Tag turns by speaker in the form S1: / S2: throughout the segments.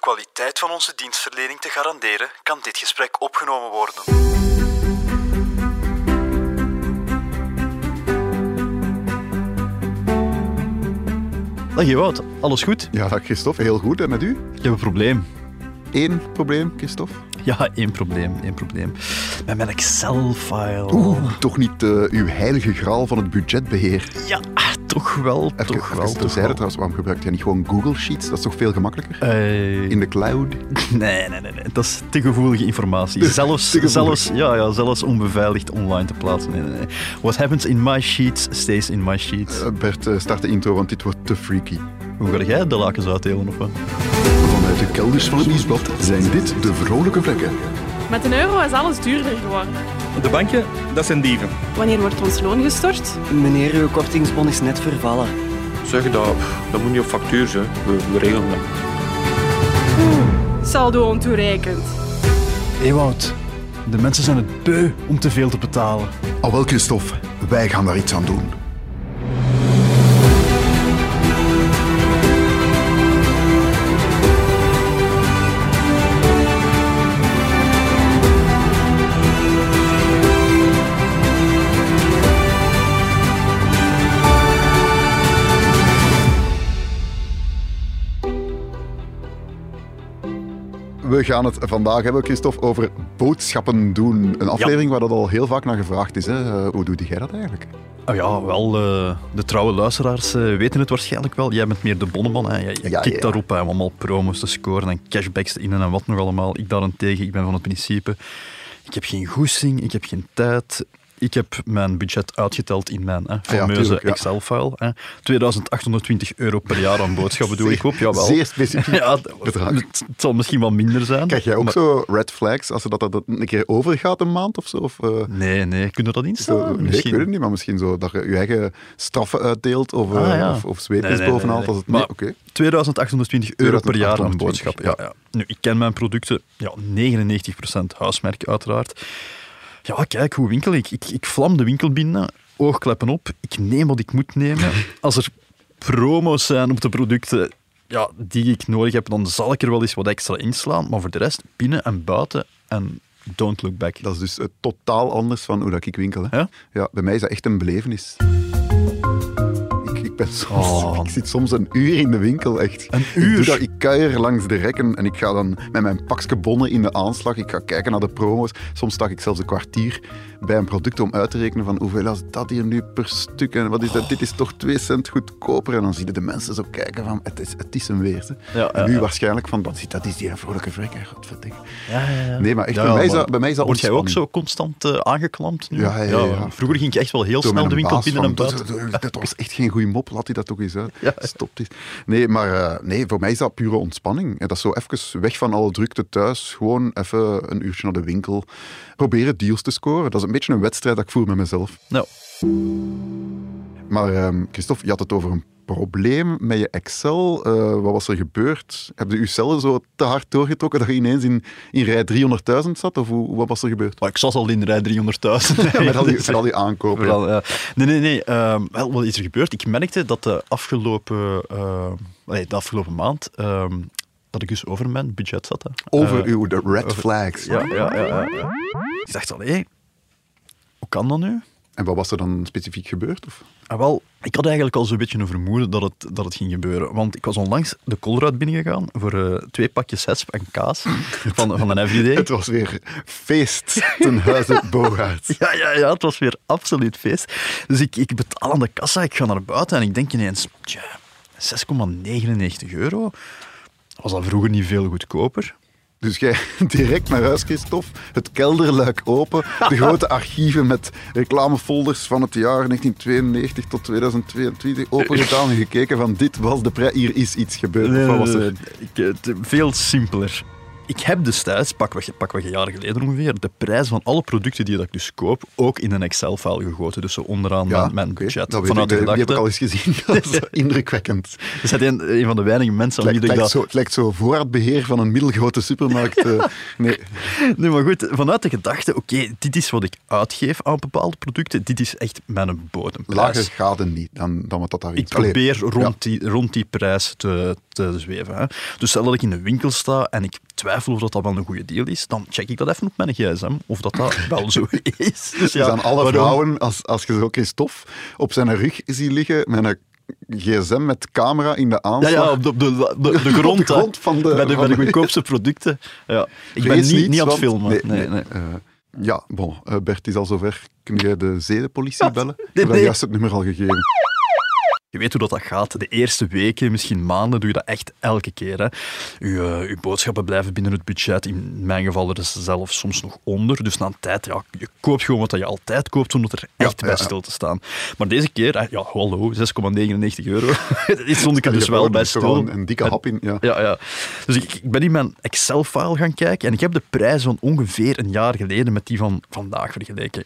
S1: kwaliteit van onze dienstverlening te garanderen, kan dit gesprek opgenomen worden. Dag Ewout, alles goed?
S2: Ja, dag Christophe, heel goed. En met u?
S1: Ik heb een probleem.
S2: Eén probleem, Christophe.
S1: Ja, één probleem, één probleem. Met mijn Excel-file.
S2: Oeh, toch niet eh, uw heilige graal van het budgetbeheer.
S1: Ja, toch wel,
S2: Even,
S1: toch wel.
S2: even
S1: toch
S2: terzijde
S1: wel.
S2: trouwens, waarom gebruikt jij niet gewoon Google Sheets? Dat is toch veel gemakkelijker?
S1: Eh,
S2: In de cloud?
S1: Nee, nee, nee, nee. Dat is te gevoelige informatie. Zelfs,
S2: gevoelig.
S1: zelfs, ja, ja, zelfs onbeveiligd online te plaatsen. Nee, nee, nee. What happens in my sheets stays in my sheets.
S2: Eh, Bert, eh, start de intro, want dit wordt te freaky.
S1: Hoe ga jij de lakens uitdelen of wat?
S2: Vanuit de kelders van het nieuwsblad zijn dit de vrolijke vlekken.
S3: Met een euro is alles duurder geworden.
S4: De banken, dat zijn dieven.
S3: Wanneer wordt ons loon gestort?
S5: Meneer, uw kortingsbon is net vervallen.
S6: Zeg dat, dat moet niet op factuur zijn. We, we regelen dat.
S3: Saldo ontoereikend.
S7: Ewout, de mensen zijn het beu om te veel te betalen.
S2: Al Ah, wel, Christophe, wij gaan daar iets aan doen. We gaan het vandaag hebben, Christophe, over boodschappen doen. Een aflevering waar dat al heel vaak naar gevraagd is. Hè? Eh, Hoe doe jij dat eigenlijk?
S1: Oh ja, wel, eh, de trouwe luisteraars eh, weten het waarschijnlijk wel. Jij bent meer de bonneman. Hè. Jij, jij
S2: Ja,
S1: kikt
S2: ja.
S1: daarop hè, om allemaal promos te scoren en cashbacks te innen en wat nog allemaal. Ik daarentegen, ik ben van het principe, ik heb geen goesting, ik heb geen tijd. Ik heb mijn budget uitgeteld in mijn hè, fameuze
S2: tuurlijk, Ah ja.
S1: Excel-file. hè. 2820 euro per jaar aan boodschappen doe ik op, jawel.
S2: Zeer specifiek.
S1: ja, d-
S2: bedrag.
S1: Het, het zal misschien wel minder zijn.
S2: Krijg jij ook
S1: maar-
S2: zo red flags als ze dat, dat dat een keer overgaat een maand of zo? Of, eh,
S1: Nee, nee. Kunnen we dat
S2: zo-
S1: instellen?
S2: nee, ik weet het niet, maar misschien zo dat je je eigen straffen uitdeelt of, eh,
S1: Ah, ja.
S2: of, of zweep
S1: Nee,
S2: is
S1: nee, nee,
S2: bovenal.
S1: nee.
S2: Als het,
S1: Maar-
S2: nee, oké.
S1: 2820 euro per jaar aan
S2: 2820,
S1: boodschappen. Ja, ja. Nu, ik ken mijn producten, ja, 99% huismerk uiteraard. Ja, kijk, hoe winkel ik? ik? Ik vlam de winkel binnen, oogkleppen op, ik neem wat ik moet nemen. Als er promo's zijn op de producten ja, die ik nodig heb, dan zal ik er wel eens wat extra inslaan. Maar voor de rest, binnen en buiten en don't look back.
S2: Dat is dus eh, totaal anders van hoe dat ik winkel. Hè?
S1: Ja?
S2: bij mij is dat echt een belevenis. Ik, ik, ben soms,
S1: Oh.
S2: ik zit soms een uur in de winkel, echt.
S1: Een
S2: Ik,
S1: uur?
S2: doe dat, ik kuier langs de rekken en ik ga dan met mijn pakske bonnen in de aanslag. Ik ga kijken naar de promo's. Soms sta ik zelfs een kwartier bij een product om uit te rekenen van hoeveel is dat hier nu per stuk en wat is dat? Dit is toch twee cent goedkoper. En dan zie je de mensen zo kijken van het is, het is een weer. hè.
S1: Ja,
S2: en
S1: ja,
S2: nu
S1: ja.
S2: waarschijnlijk van wat zit dat is die vrolijke vrekker. Godverdikke.
S1: Ja, ja, ja.
S2: Nee, maar echt,
S1: Ja,
S2: bij, mij is
S1: maar
S2: dat, bij mij is dat
S1: Word jij ook
S2: ontspanning.
S1: zo constant eh, aangeklampt nu?
S2: Ja, ja, ja, ja.
S1: Vroeger ging ik echt wel heel
S2: Door
S1: snel
S2: mijn
S1: de winkel
S2: baas
S1: binnen en
S2: van,
S1: buiten.
S2: "Dat- dat- Dat was echt geen goede mop, laat hij dat toch eens uit. Stop dit. Nee, maar eh, nee, voor mij is dat pure ontspanning. En Dat is zo even weg van alle drukte thuis. Gewoon even een uurtje naar de winkel. Proberen deals te scoren. Dat is een beetje een wedstrijd dat ik voer met mezelf.
S1: Nou,
S2: Maar ehm, Christophe, je had het over een probleem met je Excel. Eh, wat was er gebeurd? Heb je uw cellen zo te hard doorgetrokken dat je ineens in, in rij 300.000 zat? Of hoe, wat was er gebeurd?
S1: maar ik zat al in rij 300.000.
S2: Ja, met, al die, met al die aankopen.
S1: Vooral, ja. Nee, nee, nee. ehm, wel, wat is er gebeurd? Ik merkte dat de afgelopen, ehm, nee, de afgelopen maand ehm, dat ik dus over mijn budget zat. hè.
S2: Over
S1: Eh,
S2: uw de red flags.
S1: Ja, ja, ja, ja, ja. Ik dacht al, hé, hoe kan dat nu?
S2: En wat was er dan specifiek gebeurd? Of?
S1: Ah, wel, ik had eigenlijk al zo'n beetje een vermoeden dat het, dat het ging gebeuren. Want ik was onlangs de Colruyt binnengegaan voor eh, twee pakjes hesp en kaas van, van een everyday.
S2: Het was weer feest ten huize Bogaert.
S1: Ja, ja, ja, het was weer absoluut feest. Dus ik, ik betaal aan de kassa, ik ga naar buiten en ik denk ineens, tja, 6,99 euro. Was dat vroeger niet veel goedkoper?
S2: Dus jij direct naar huis, Christophe, het kelderluik open, de grote archieven met reclamefolders van het jaar 1992 tot 2022 opengedaan en
S1: Eh,
S2: gekeken van dit was de prijs, hier is iets gebeurd. Of wat was er?
S1: Ik, eh, het- veel simpeler. Ik heb destijds, pakweg, pakweg een jaar geleden ongeveer, de prijs van alle producten die dat ik dus koop ook in een Excel-file gegoten. Dus zo onderaan mijn, mijn
S2: oké,
S1: budget.
S2: dat weet
S1: vanuit
S2: ik, eh,
S1: de
S2: die- die heb ik al
S1: gedachte.
S2: eens gezien. Dat is eh, indrukwekkend.
S1: Dus dat is een, een van de weinige mensen aan
S2: Het
S1: wie
S2: lijkt,
S1: ik
S2: lijkt
S1: dat...
S2: zo, het lijkt zo voorraadbeheer van een middelgrote supermarkt. eh, nee,
S1: Nee, maar goed, vanuit de gedachte, oké, dit is wat ik uitgeef aan bepaalde producten. Dit is echt mijn bodemprijs.
S2: lager gaat het niet dan, dan wat dat daar
S1: Ik
S2: is. Allee,
S1: probeer
S2: ja.
S1: rond, die, rond die prijs te, te zweven. Hè. Dus stel dat ik in de winkel sta en ik twijfel of dat, dat wel een goede deal is, dan check ik dat even op mijn gsm, of dat, dat wel zo is. Dus
S2: Dus aan alle
S1: waarom-
S2: vrouwen, als, als je zo Christophe op zijn rug ziet liggen met een gsm met camera in de
S1: Ja,
S2: aanslag.
S1: ja, op de, op de, de, de
S2: Op de
S1: grond. hè.
S2: grond van de-
S1: bij de,
S2: van
S1: bij de
S2: de-
S1: goedkoopste producten. Ja. Ik ben
S2: Vrees
S1: niet, niet aan het
S2: want-
S1: filmen. Nee, nee,
S2: eh, ja, bon, eh, Bert is al zover. Kun jij de zedenpolitie bellen? Ik
S1: nee,
S2: heb daar
S1: nee.
S2: juist het nummer al gegeven.
S1: Je weet hoe dat, dat gaat. De eerste weken, misschien maanden, doe je dat echt elke keer. Hè. Uw, eh, uw boodschappen blijven binnen het budget. In mijn geval er is ze zelfs soms nog onder. Dus na een tijd, ja, je koopt gewoon wat dat je altijd koopt, zonder er echt
S2: ja,
S1: bij
S2: ja.
S1: stil te staan. Maar deze keer, eh, ja, hallo, 6,99 euro. Dit stond ik er dus
S2: Je
S1: wel
S2: hebt
S1: bij
S2: toch al
S1: stil.
S2: Een, een dikke
S1: En-
S2: hap in. Ja.
S1: ja, ja. Dus ik, ik ben in mijn Excel-file gaan kijken en ik heb de prijs van ongeveer een jaar geleden met die van vandaag vergeleken.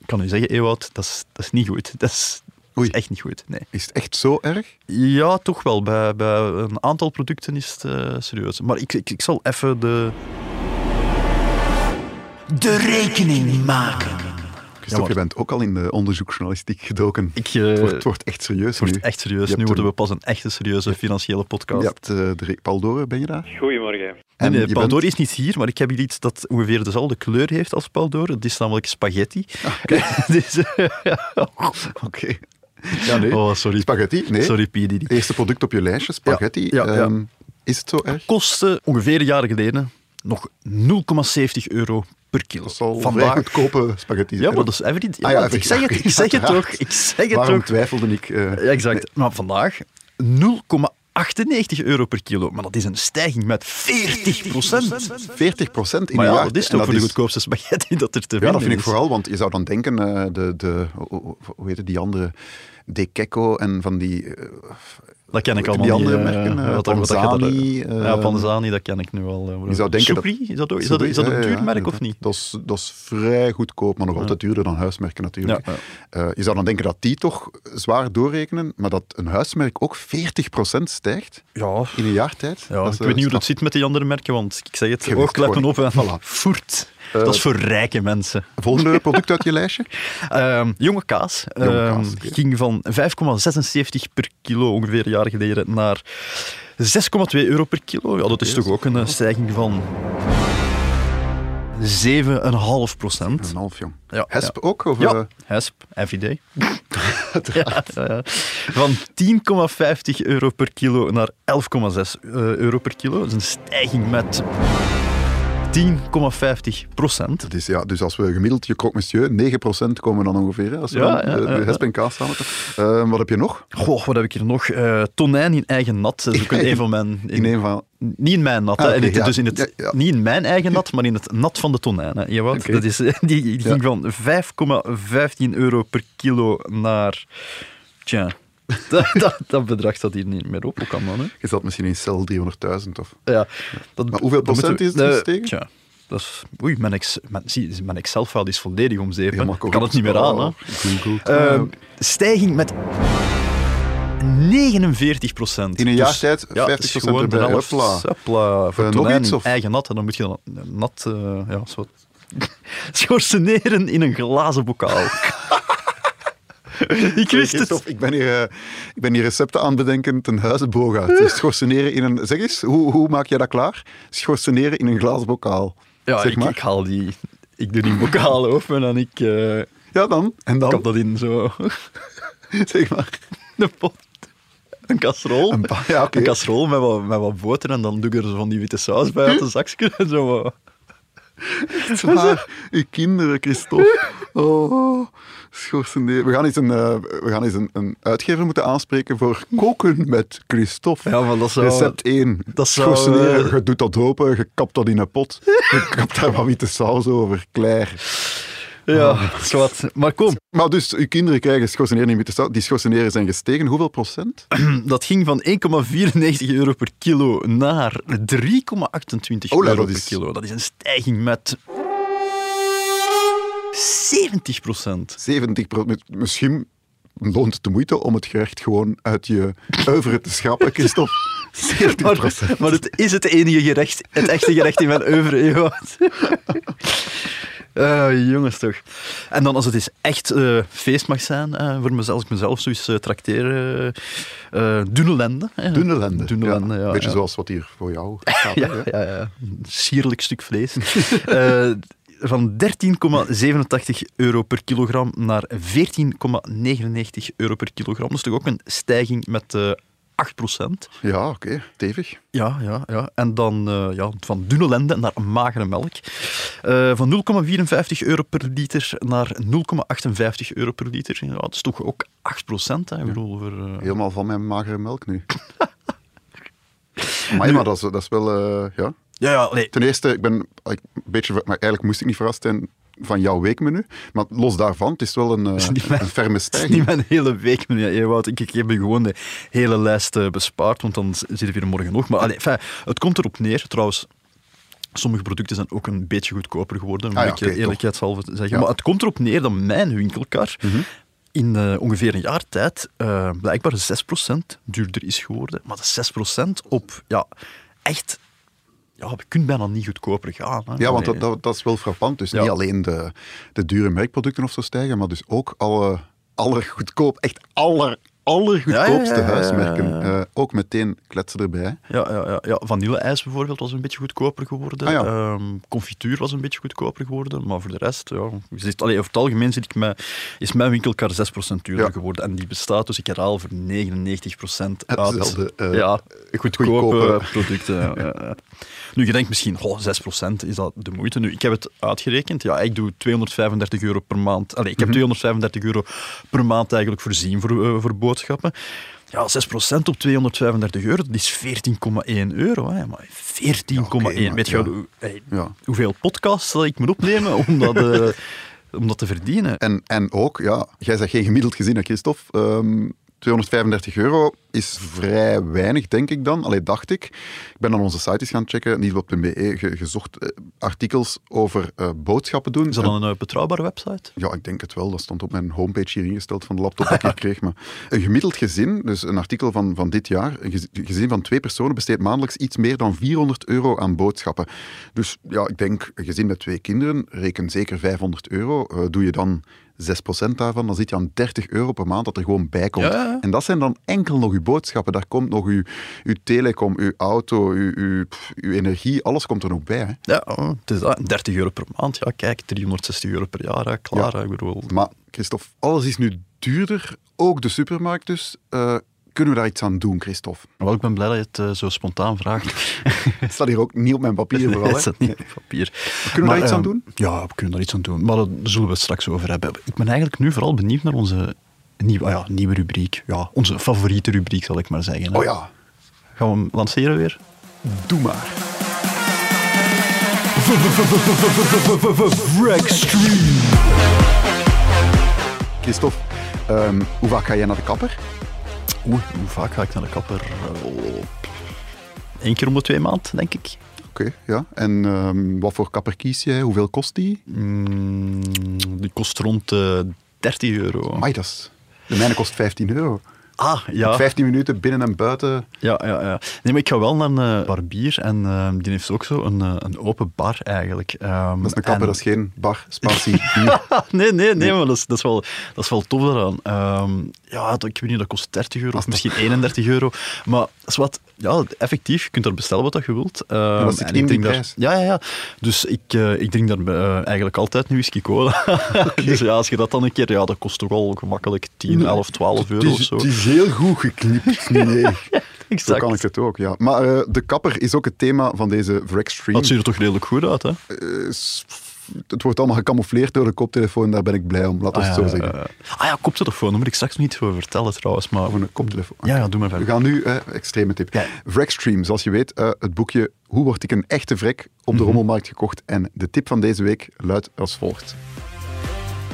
S1: Ik kan u zeggen, Ewout, dat is, dat is niet goed. Dat is, dat is
S2: Oei.
S1: echt niet goed, nee.
S2: Is het echt zo erg?
S1: Ja, toch wel. Bij, bij een aantal producten is het eh, serieus. Maar ik, ik, ik zal even de...
S7: De rekening maken.
S2: Christophe, je bent ook al in de onderzoeksjournalistiek gedoken.
S1: Ik,
S2: het,
S1: eh,
S2: wordt, het wordt echt serieus nu.
S1: Wordt echt serieus.
S2: Je
S1: Nu
S2: hebt
S1: worden we
S2: hem.
S1: pas een echte serieuze financiële podcast.
S2: Je hebt eh, de re- Paul Doren, ben je daar?
S8: Goedemorgen.
S1: Nee, nee,
S2: je
S1: Paldore
S2: bent-
S1: is niet hier, maar ik heb hier iets dat ongeveer dezelfde kleur heeft als Paldore. Het is namelijk spaghetti. dus, eh,
S2: Ah, Oké. Ja, nee.
S1: oh, sorry.
S2: Spaghetti? Nee.
S1: Sorry, P. Diddy.
S2: Eerste product op je lijstje, spaghetti.
S1: Ja, ja, ja.
S2: Ehm, is het zo erg?
S1: Kostte ongeveer een jaar geleden nog 0,70 euro per kilo.
S2: Dat zal vrij
S1: Vandaag...
S2: goedkope spaghetti
S1: Ja,
S2: zijn.
S1: maar dat is evident. Ja,
S2: Ah ja,
S1: want ik zeg het, ik
S2: evident.
S1: zeg het toch.
S2: Uiteraard.
S1: Ik zeg het
S2: Waarom
S1: toch.
S2: twijfelde ik? eh,
S1: Ja, exact. Maar vandaag 0,98 euro per kilo. Maar dat is een stijging met 40
S2: 40 procent in
S1: Maar
S2: een
S1: ja,
S2: jaar.
S1: dat is
S2: En
S1: toch voor de
S2: is-
S1: goedkoopste spaghetti dat er te
S2: Ja, dat
S1: vinden
S2: vind ik
S1: is.
S2: vooral, want je zou dan denken, eh, de, de, hoe- hoe- hoe heet het, die andere, De Kekko en van die, eh,
S1: Dat ken ik
S2: Die
S1: allemaal
S2: andere
S1: niet, eh,
S2: merken, eh,
S1: wat- wat dat gaat-
S2: Panzani, eh,
S1: ja, Panzani, dat ken ik nu al. eh,
S2: je zou denken dat-
S1: Soupli, is dat, ook- is dat, is dat
S2: Ja,
S1: een
S2: ja,
S1: duur merk of
S2: inderdaad.
S1: niet?
S2: Dat is, dat is vrij goedkoop, maar nog altijd duurder dan huismerken natuurlijk.
S1: Ja, ja.
S2: Eh, je zou dan denken dat die toch zwaar doorrekenen, maar dat een huismerk ook 40% stijgt
S1: Ja,
S2: in een jaar tijd.
S1: ja
S2: dat
S1: ik
S2: is,
S1: weet
S2: eh,
S1: niet hoe
S2: straf.
S1: dat zit met die andere merken, want ik zeg het,
S2: Je weet
S1: oogkleppen op en
S2: gewoon.
S1: voilà.
S2: Voilà.
S1: voert.
S2: Eh,
S1: dat is voor rijke mensen.
S2: Volgende product uit je lijstje?
S1: Ehm, jonge kaas.
S2: Jonge
S1: ehm,
S2: kaas, oké.
S1: ging van 5,76 per kilo ongeveer een jaar geleden naar 6,2 euro per kilo. Ja, dat is toch ook een eh, stijging van 7,5 procent.
S2: Een half, jong.
S1: Ja,
S2: Hesp ook? Of, eh,
S1: Ja, HESP, everyday. Ja, ja, ja. Van 10,50 euro per kilo naar 11,6 eh, euro per kilo. Dat is een stijging met 10,50 procent.
S2: Dat is, ja, dus als we gemiddeld je croque monsieur, 9% komen dan ongeveer. hè, Als we
S1: Ja,
S2: dan
S1: ja,
S2: de,
S1: ja,
S2: de
S1: ja.
S2: hesp en kaas samenleggen. Eh, wat heb je nog?
S1: Goh, wat heb ik hier nog? Eh, tonijn in eigen nat. Dat is ook in een van mijn...
S2: In een van...
S1: Niet in mijn nat,
S2: Ah,
S1: hè.
S2: oké,
S1: En het-
S2: ja.
S1: dus in het,
S2: Ja, ja.
S1: niet in mijn eigen nat, maar in het nat van de tonijn. Hè. Ewout.
S2: Oké.
S1: Dat is, eh, die, die ging
S2: Ja.
S1: van 5,15 euro per kilo naar... Tja, dat, dat, dat bedrag staat hier niet meer op. Hoe kan dat, hè?
S2: Je zat misschien in cel 300.000 of...
S1: Ja, dat,
S2: Maar hoeveel
S1: dat
S2: procent
S1: moeten we-
S2: is het
S1: eh,
S2: gestegen?
S1: Tja, dat is... Oei, mijn, ex, mijn, zie, mijn Excel-file is volledig omzeep. hè.
S2: Helemaal
S1: Ik kan het niet meer aan, hè.
S2: corrupt. Oh, Google.
S1: Ehm,
S2: Eh,
S1: stijging met 49 procent. Dus
S2: In een jaar tijd 50% erbij. Hopla.
S1: Hopla. Voor
S2: Eh, nog
S1: tonijn
S2: iets,
S1: in
S2: of?
S1: eigen nat. En dan moet je dan nat... eh, ja, zo... Schorseneren in een glazen bokaal. Ik wist het.
S2: Christophe, ik ben, hier, eh, ik ben hier recepten aan het bedenken ten huize Boga. Dus schorseneren in een... Zeg eens, hoe, hoe maak jij dat klaar? Schorseneren in een glazen bokaal.
S1: Ja,
S2: zeg
S1: ik,
S2: maar.
S1: ik haal die... Ik doe die bokalen open en ik eh
S2: Ja, dan. En dan,
S1: kap dat in zo...
S2: zeg maar.
S1: Een pot. Een kastrol.
S2: Een pa- ja, oké.
S1: Een kastrol met wat, met wat boter en dan doe ik er zo van die witte saus bij
S2: Hm?
S1: uit de zakje en zo wat...
S2: Het is waar. Uw kinderen, Christophe. Oh, schorseneren. We gaan eens, een, eh, we gaan eens een, een uitgever moeten aanspreken voor koken met Christophe.
S1: Ja, maar dat zou-
S2: Recept 1.
S1: dat zou,
S2: Schorseneren,
S1: eh,
S2: je doet dat open, je kapt dat in een pot. Je kapt daar wat witte saus over, klaar. Oh.
S1: Ja, zwart. Maar kom,
S2: Maar dus, uw kinderen krijgen schorseneren niet meer te staan. Die schorseneren zijn gestegen. Hoeveel procent?
S1: dat ging van 1,94 euro per kilo naar 3,28
S2: Ola,
S1: euro
S2: Oh, dat
S1: per
S2: is-
S1: kilo. Dat is een stijging met 70 procent.
S2: 70 procent. Misschien loont het de moeite om het gerecht gewoon uit je oeuvre te schrappen, Christophe. 70
S1: Maar,
S2: procent.
S1: maar het is het enige gerecht, het echte gerecht in mijn oeuvre, Ewout. Eh, jongens toch. En dan als het eens echt eh, feest mag zijn eh, voor mezelf, als ik mezelf zoiets eh tracteer, eh, eh, dunne lenden. hè.
S2: Dunne lenden.
S1: Dunne lenden, ja,
S2: Beetje
S1: ja.
S2: zoals wat hier voor jou staat. hè,
S1: Ja,
S2: hè?
S1: ja, ja. Een sierlijk stuk vlees. Eh, van 13,87 euro per kilogram naar 14,99 euro per kilogram. Dat is toch ook een stijging met eh 8%.
S2: Ja, oké. Tevig.
S1: Ja, ja, ja. En dan eh, ja, van dunne lenden naar magere melk. Eh, van 0,54 euro per liter naar 0,58 euro per liter. Ja, dat is toch ook 8%. Hè? Ik bedoel, voor, eh,
S2: Helemaal van mijn magere melk nu. Maar, ja, maar dat, is, dat is wel... eh, ja.
S1: Ja, ja, nee.
S2: Ten eerste, ik ben ik- een beetje... ver- Maar eigenlijk moest ik niet verrast zijn van jouw weekmenu. Maar los daarvan, het is wel een, eh,
S1: is niet mijn-
S2: een ferme
S1: Het is
S2: stijging.
S1: niet mijn hele week, meneer Ewout. Ik, ik heb u gewoon de hele lijst eh, bespaard, want dan z- zitten we hier morgen nog. Maar allee, enfin, het komt erop neer, trouwens. Sommige producten zijn ook een beetje goedkoper geworden, moet
S2: Ah ja,
S1: ik eh,
S2: oké, toch.
S1: eerlijkheidshalve zeggen.
S2: Ja. Mhm.
S1: Maar het komt erop neer dat mijn winkelkar in eh, ongeveer een jaar tijd eh, blijkbaar 6% duurder is geworden. Maar dat is 6% op, ja, echt... Ja, je kunt bijna niet goedkoper gaan. Hè.
S2: Ja, want
S1: Allee.
S2: dat, dat, dat is wel frappant. Dus
S1: Ja.
S2: niet alleen de, de dure merkproducten of zo stijgen, maar dus ook alle allergoedkoop, echt aller, allergoedkoopste
S1: Ja, ja, ja, ja,
S2: huismerken. eh, ook meteen kletsen erbij.
S1: Ja, ja, ja, ja. vanille-ijs bijvoorbeeld was een beetje goedkoper geworden.
S2: Ah, ja.
S1: Ehm, confituur was een beetje goedkoper geworden. Maar voor de rest, ja, zit, allee, over het algemeen zit ik met, is mijn winkelkar 6% duurder
S2: Ja.
S1: geworden. En die bestaat dus, ik herhaal, voor 99% uit
S2: Hetzelfde, eh,
S1: ja, goedkope,
S2: goedkope.
S1: producten. ja, ja, ja. eh, Nu, je denkt misschien, oh, 6% is dat de moeite. Nu, ik heb het uitgerekend. Ja, ik doe 235 euro per maand. Allee,
S2: Mhm.
S1: ik heb 235 euro per maand eigenlijk voorzien voor, eh, voor boodschappen. Ja, 6% op 235 euro, dat is 14,1 euro. Hè. Maar 14,1.
S2: Ja, oké,
S1: Weet je
S2: maar-
S1: wel, hoe- hey,
S2: Ja.
S1: hoeveel podcasts dat ik moet opnemen om dat, eh, om dat te verdienen?
S2: En, en ook, ja, jij zegt geen gemiddeld gezin, hè, Christophe. Ehm, 235 euro is vrij weinig, denk ik dan. Allee, dacht ik. Ik ben aan onze site eens gaan checken, nieuwsblad.be, ge- gezocht eh, artikels over eh, boodschappen doen.
S1: Is dat dan een eh, betrouwbare website?
S2: Ja, ik denk het wel. Dat stond op mijn homepage hier ingesteld van de laptop die ik hier kreeg. Maar een gemiddeld gezin, dus een artikel van, van dit jaar, een gez- gezin van twee personen besteedt maandelijks iets meer dan 400 euro aan boodschappen. Dus ja, ik denk, een gezin met twee kinderen, reken zeker 500 euro. Eh, doe je dan 6% daarvan, dan zit je aan 30 euro per maand dat er gewoon bij komt.
S1: Ja, ja, ja.
S2: En dat zijn dan enkel nog uw boodschappen. Daar komt nog uw, uw telecom, uw auto, uw, uw, pff, uw energie, alles komt er nog bij. Hè.
S1: Ja, oh, het is dat. 30 euro per maand. Ja, kijk, 360 euro per jaar. hè. Klaar, hè. ik bedoel.
S2: Maar Christophe, alles is nu duurder, ook de supermarkt dus. Eh, kunnen we daar iets aan doen, Christophe?
S1: Wel, ik ben blij dat je het eh, zo spontaan vraagt.
S2: Het staat hier ook niet op mijn papier vooral.
S1: dat
S2: hè?
S1: staat niet op papier. ehm,
S2: we daar iets aan doen?
S1: Ja, we kunnen daar iets aan doen. Maar daar zullen we het straks over hebben. Ik ben eigenlijk nu vooral benieuwd naar onze nieuwe, ah ja, nieuwe rubriek. Ja, onze favoriete rubriek, zal ik maar zeggen. hè.
S2: Oh ja,
S1: Gaan we hem lanceren weer?
S2: doe maar. Christophe, ehm, hoe vaak ga jij naar de kapper?
S1: Oeh, hoe vaak ga ik naar de kapper? Eh, Eén keer om de twee maanden, denk ik.
S2: Oké, ja. En ehm, wat voor kapper kies jij? Hoeveel kost die?
S1: Mm, die kost rond eh 30 euro.
S2: Amai, dat is- De mijne kost 15 euro.
S1: Ah, ja.
S2: 15 minuten binnen en buiten.
S1: Ja, ja, ja. Nee, maar ik ga wel naar een eh, barbier en eh, die heeft ook zo een, eh, een open bar eigenlijk. Ehm,
S2: Dat is een kapper,
S1: en- Ah,
S2: dat is geen bar, spatie. bier.
S1: nee, nee, nee, maar dat is, dat is, wel, dat is wel tof daaraan. Ehm, ja, dat- ik weet niet, dat kost 30 euro of misschien 31 euro. Maar is wat, ja, effectief, je kunt daar bestellen wat dat je wilt. Ehm,
S2: dat zit
S1: en
S2: in
S1: ik
S2: die
S1: drink daar,
S2: prijs.
S1: Ja, ja, ja. Dus ik, eh, ik drink daar eh, eigenlijk altijd nu whisky cola. dus ja, als je dat dan een keer, ja, dat kost toch al gemakkelijk 10, 11, 12 euro of zo.
S2: is heel goed geknipt. Nee. Zo
S1: Exact.
S2: kan ik het ook, ja. Maar eh, de kapper is ook het thema van deze Vrexstream.
S1: Dat ziet er toch redelijk goed uit, hè?
S2: Eh, s- Het wordt allemaal gecamoufleerd door de koptelefoon, daar ben ik blij om, laat ons
S1: ja,
S2: het Dus zo zeggen.
S1: eh, ah ja, koptelefoon, daar moet ik straks nog niet over vertellen trouwens. Maar...
S2: Gewoon een koptelefoon.
S1: Ja, ja, doe maar
S2: We
S1: verder.
S2: gaan nu, eh, extreme tip.
S1: Ja.
S2: Vrexstream, zoals je weet, eh, het boekje Hoe word
S1: Mhm.
S2: ik een echte vrek op de rommelmarkt gekocht. En de tip van deze week luidt als volgt.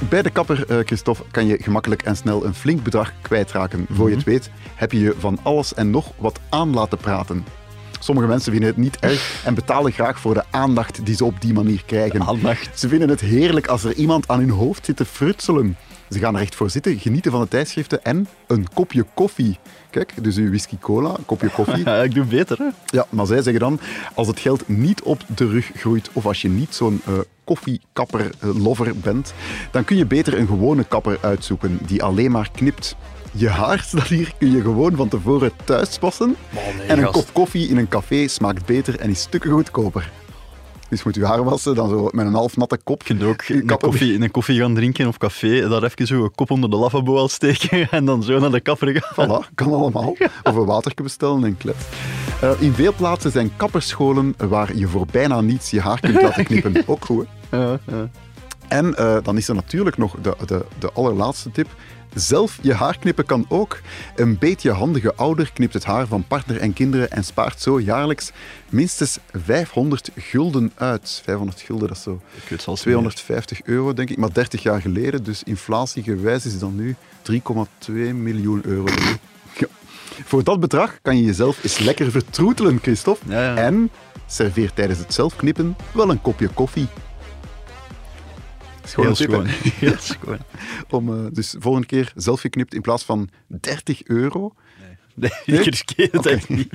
S2: Bij de kapper, eh, Christophe, kan je gemakkelijk en snel een flink bedrag kwijtraken. Voor je het weet heb je je van alles en nog wat aan laten praten. Sommige mensen vinden het niet erg en betalen graag voor de aandacht die ze op die manier krijgen.
S1: Aandacht.
S2: Ze vinden het heerlijk als er iemand aan hun hoofd zit te frutselen. Ze gaan er echt voor zitten, genieten van de tijdschriften en een kopje koffie. Kijk, dus uw whisky cola, een kopje koffie.
S1: Ja, ik doe beter, hè.
S2: Ja, maar zij zeggen dan, als het geld niet op de rug groeit of als je niet zo'n eh, koffiekapper-lover bent, dan kun je beter een gewone kapper uitzoeken die alleen maar knipt. Je haarstadier kun je gewoon van tevoren thuis wassen en een
S1: gast.
S2: kop koffie in een café smaakt beter en is stukken goedkoper. Dus moet je haar wassen, dan zo met een half natte
S1: Je
S2: kop.
S1: kunt ook
S2: Je
S1: een
S2: kan-
S1: koffie, in een koffie gaan drinken of café, daar even zo een kop onder de lavabo al steken en dan zo naar de kapper gaan.
S2: Voilà, kan allemaal. Of een waterke bestellen en klets. Eh, in veel plaatsen zijn kapperscholen waar je voor bijna niets je haar kunt laten knippen. Ook goed, hè? En eh, dan is er natuurlijk nog de, de, de allerlaatste tip. Zelf je haar knippen kan ook. Een beetje handige ouder knipt het haar van partner en kinderen en spaart zo jaarlijks minstens 500 gulden uit. 500 gulden, dat is zo
S1: Ik weet zelfs
S2: 250 euro, denk ik. Maar 30 jaar geleden, dus inflatiegewijs is dan nu 3,2 miljoen euro. Ja. Voor dat bedrag kan je jezelf eens lekker vertroetelen, Christophe.
S1: Ja, ja.
S2: En serveer tijdens het zelf knippen wel een kopje koffie. Is gewoon
S1: Heel
S2: een tip, hè?
S1: schoon. Heel schoon.
S2: Om, eh, dus volgende keer zelf geknipt in plaats van 30 euro.
S1: Nee, ik riskeer het echt niet.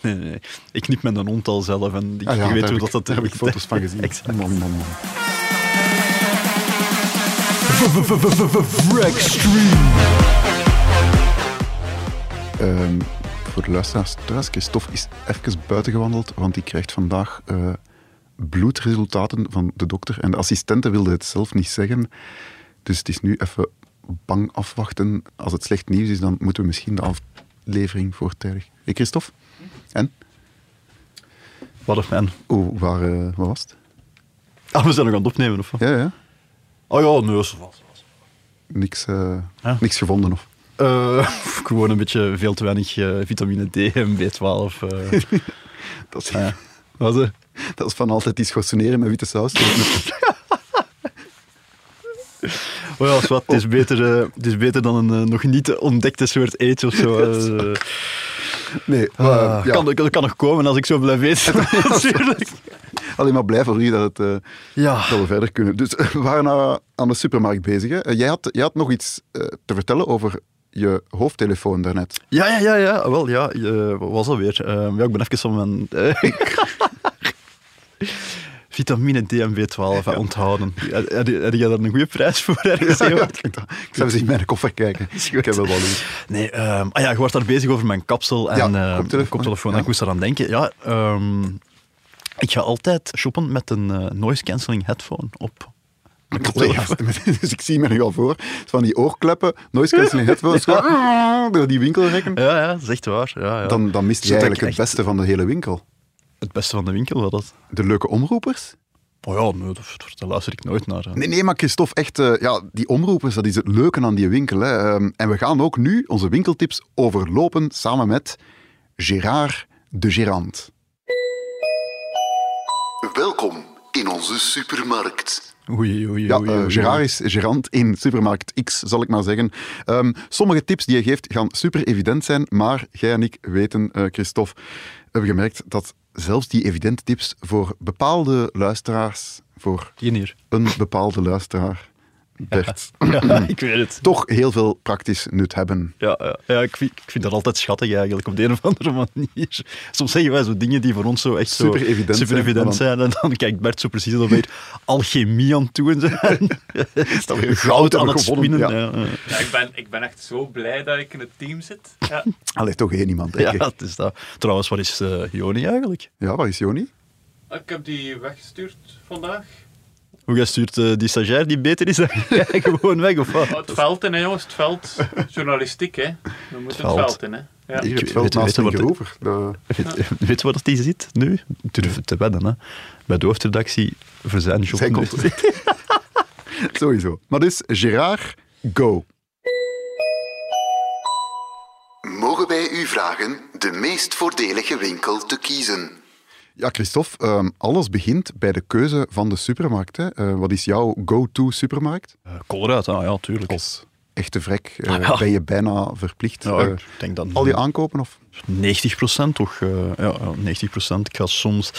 S1: Nee, nee. Ik knip met een hond al zelf en ik,
S2: Ah ja,
S1: ik weet
S2: daar
S1: hoe
S2: heb ik-
S1: dat... dat
S2: daar heb ik foto's van gezien.
S1: Exact.
S2: Man, man, man. Ehm, voor de luisteraars thuis, Christophe is even buiten gewandeld, want die krijgt vandaag eh, bloedresultaten van de dokter. En de assistente wilde het zelf niet zeggen. Dus het is nu even bang afwachten. Als het slecht nieuws is, dan moeten we misschien de aflevering voortijdig. Hé Christophe? En?
S1: Wat een man.
S2: Oeh, waar, eh, waar was het?
S1: Ah, we zijn nog aan het opnemen, of wat?
S2: Ja, ja.
S1: Oh ja, nee, zo was
S2: Niks, eh,
S1: Ah.
S2: niks gevonden of...
S1: Eh, gewoon een beetje veel te weinig eh, vitamine D en B12. eh.
S2: Dat is,
S1: Ah, Wat eh?
S2: dat is van altijd iets gossoneren met witte saus.
S1: Oh ja, zwart, het, is beter, eh, het is beter dan een eh, nog niet ontdekte soort aids of zo. eh.
S2: Nee, maar,
S1: Ah,
S2: ja.
S1: kan, dat kan nog komen als ik zo blijf eten. natuurlijk.
S2: alleen maar blij voor u dat, het, eh,
S1: Ja.
S2: dat we verder kunnen. Dus eh, we waren nou aan de supermarkt bezig. Hè. Eh, Jij, had, jij had nog iets eh, te vertellen over je hoofdtelefoon daarnet.
S1: Ja, ja, ja, ja. Wel, ja. eh, wat was dat weer? Eh, ja, ik ben even van mijn... eh, Vitamine D en B12, eh, onthouden. Had had- had jij daar een goede prijs voor ergens?
S2: Ja,
S1: eh,
S2: ik, ik zou eens in mijn koffer kijken. Ik heb wel wat lief.
S1: Nee, ehm, ah ja, je was daar bezig over mijn kapsel en
S2: Ja,
S1: eh, mijn
S2: koptelefoon.
S1: koptelefoon. En
S2: Ja.
S1: ik moest eraan denken. Ja, ehm, ik ga altijd shoppen met een eh, noise cancelling headphone op. Mijn koptelefoon.
S2: Dus ik zie me nu al voor. Van die oorkleppen, noise cancelling headphones, gewoon ah, door die winkel rekken.
S1: Ja, ja, dat is echt waar. Ja, ja.
S2: Dan, dan mist je
S1: Zodat ik
S2: eigenlijk het
S1: echt
S2: beste van de hele winkel.
S1: Het beste van de winkel wel dat.
S2: De leuke omroepers?
S1: Oh ja, nee, daar, daar luister ik nooit naar. hè.
S2: Nee, nee, maar Christophe, echt, eh, ja, die omroepers, dat is het leuke aan die winkel. Hè. Ehm, en we gaan ook nu onze winkeltips overlopen samen met Gérard de Gérant. Welkom in onze supermarkt.
S1: Oei, oei,
S2: Ja,
S1: oei,
S2: eh,
S1: oei.
S2: Gerard is gerant in supermarkt X, zal ik maar zeggen. Ehm, sommige tips die hij geeft gaan super evident zijn, maar jij en ik weten, eh Christophe, hebben gemerkt dat zelfs die evidente tips voor bepaalde luisteraars, voor
S1: Die hier.
S2: een bepaalde luisteraar, Bert,
S1: Ja, ik weet het.
S2: toch heel veel praktisch nut hebben.
S1: Ja, ja. ja ik, vind, ik vind dat altijd schattig eigenlijk, op de een of andere manier. Soms zeggen wij zo dingen die voor ons zo echt zo
S2: Super evident
S1: super
S2: zijn,
S1: evident
S2: maar
S1: zijn. En dan kijkt Bert zo precies alweer alchemie aan toe en zo. Is dat weer goud aan
S2: hebben
S1: het spinnen.
S2: gewonnen, ja.
S1: Ja, ja.
S8: Ja, ik, ben, ik ben echt zo blij dat ik in het team zit. Ja.
S2: Allee, toch één iemand, denk
S1: Ja,
S2: ik.
S1: het is dat. Trouwens, wat is eh Joni eigenlijk?
S2: Ja, waar is Joni?
S8: Ik heb die weggestuurd vandaag.
S1: Hoe jij stuurt eh, die stagiair die beter is dan jij gewoon weg of wat?
S8: Oh, het veld in, hè, jongens. Het veld. Journalistiek, hè. We moeten het
S1: veld.
S8: veld in, hè. Ja.
S2: Hier, het
S1: weet-
S2: veld
S1: weet-
S2: naast Nou,
S1: weet-
S2: Mieke
S1: wordt-
S2: Rover. De-
S1: Weet, weet je waar dat die zit nu? Durf het te wedden, hè. Bij de hoofdredactie voor zijn job.
S2: Zij komt Sowieso. Maar dus, Gerard, go. Mogen wij u vragen de meest voordelige winkel te kiezen? Ja, Christophe, ehm, alles begint bij de keuze van de supermarkt. Hè. Eh, wat is jouw go-to supermarkt?
S1: Eh, Colruyt, ah ja, tuurlijk.
S2: Als echte vrek eh,
S1: Ah, ja.
S2: ben je bijna verplicht.
S1: Ja,
S2: eh,
S1: ik denk dat
S2: al die aankopen of?
S1: 90% toch? eh, ja, ja, 90%. Ik ga soms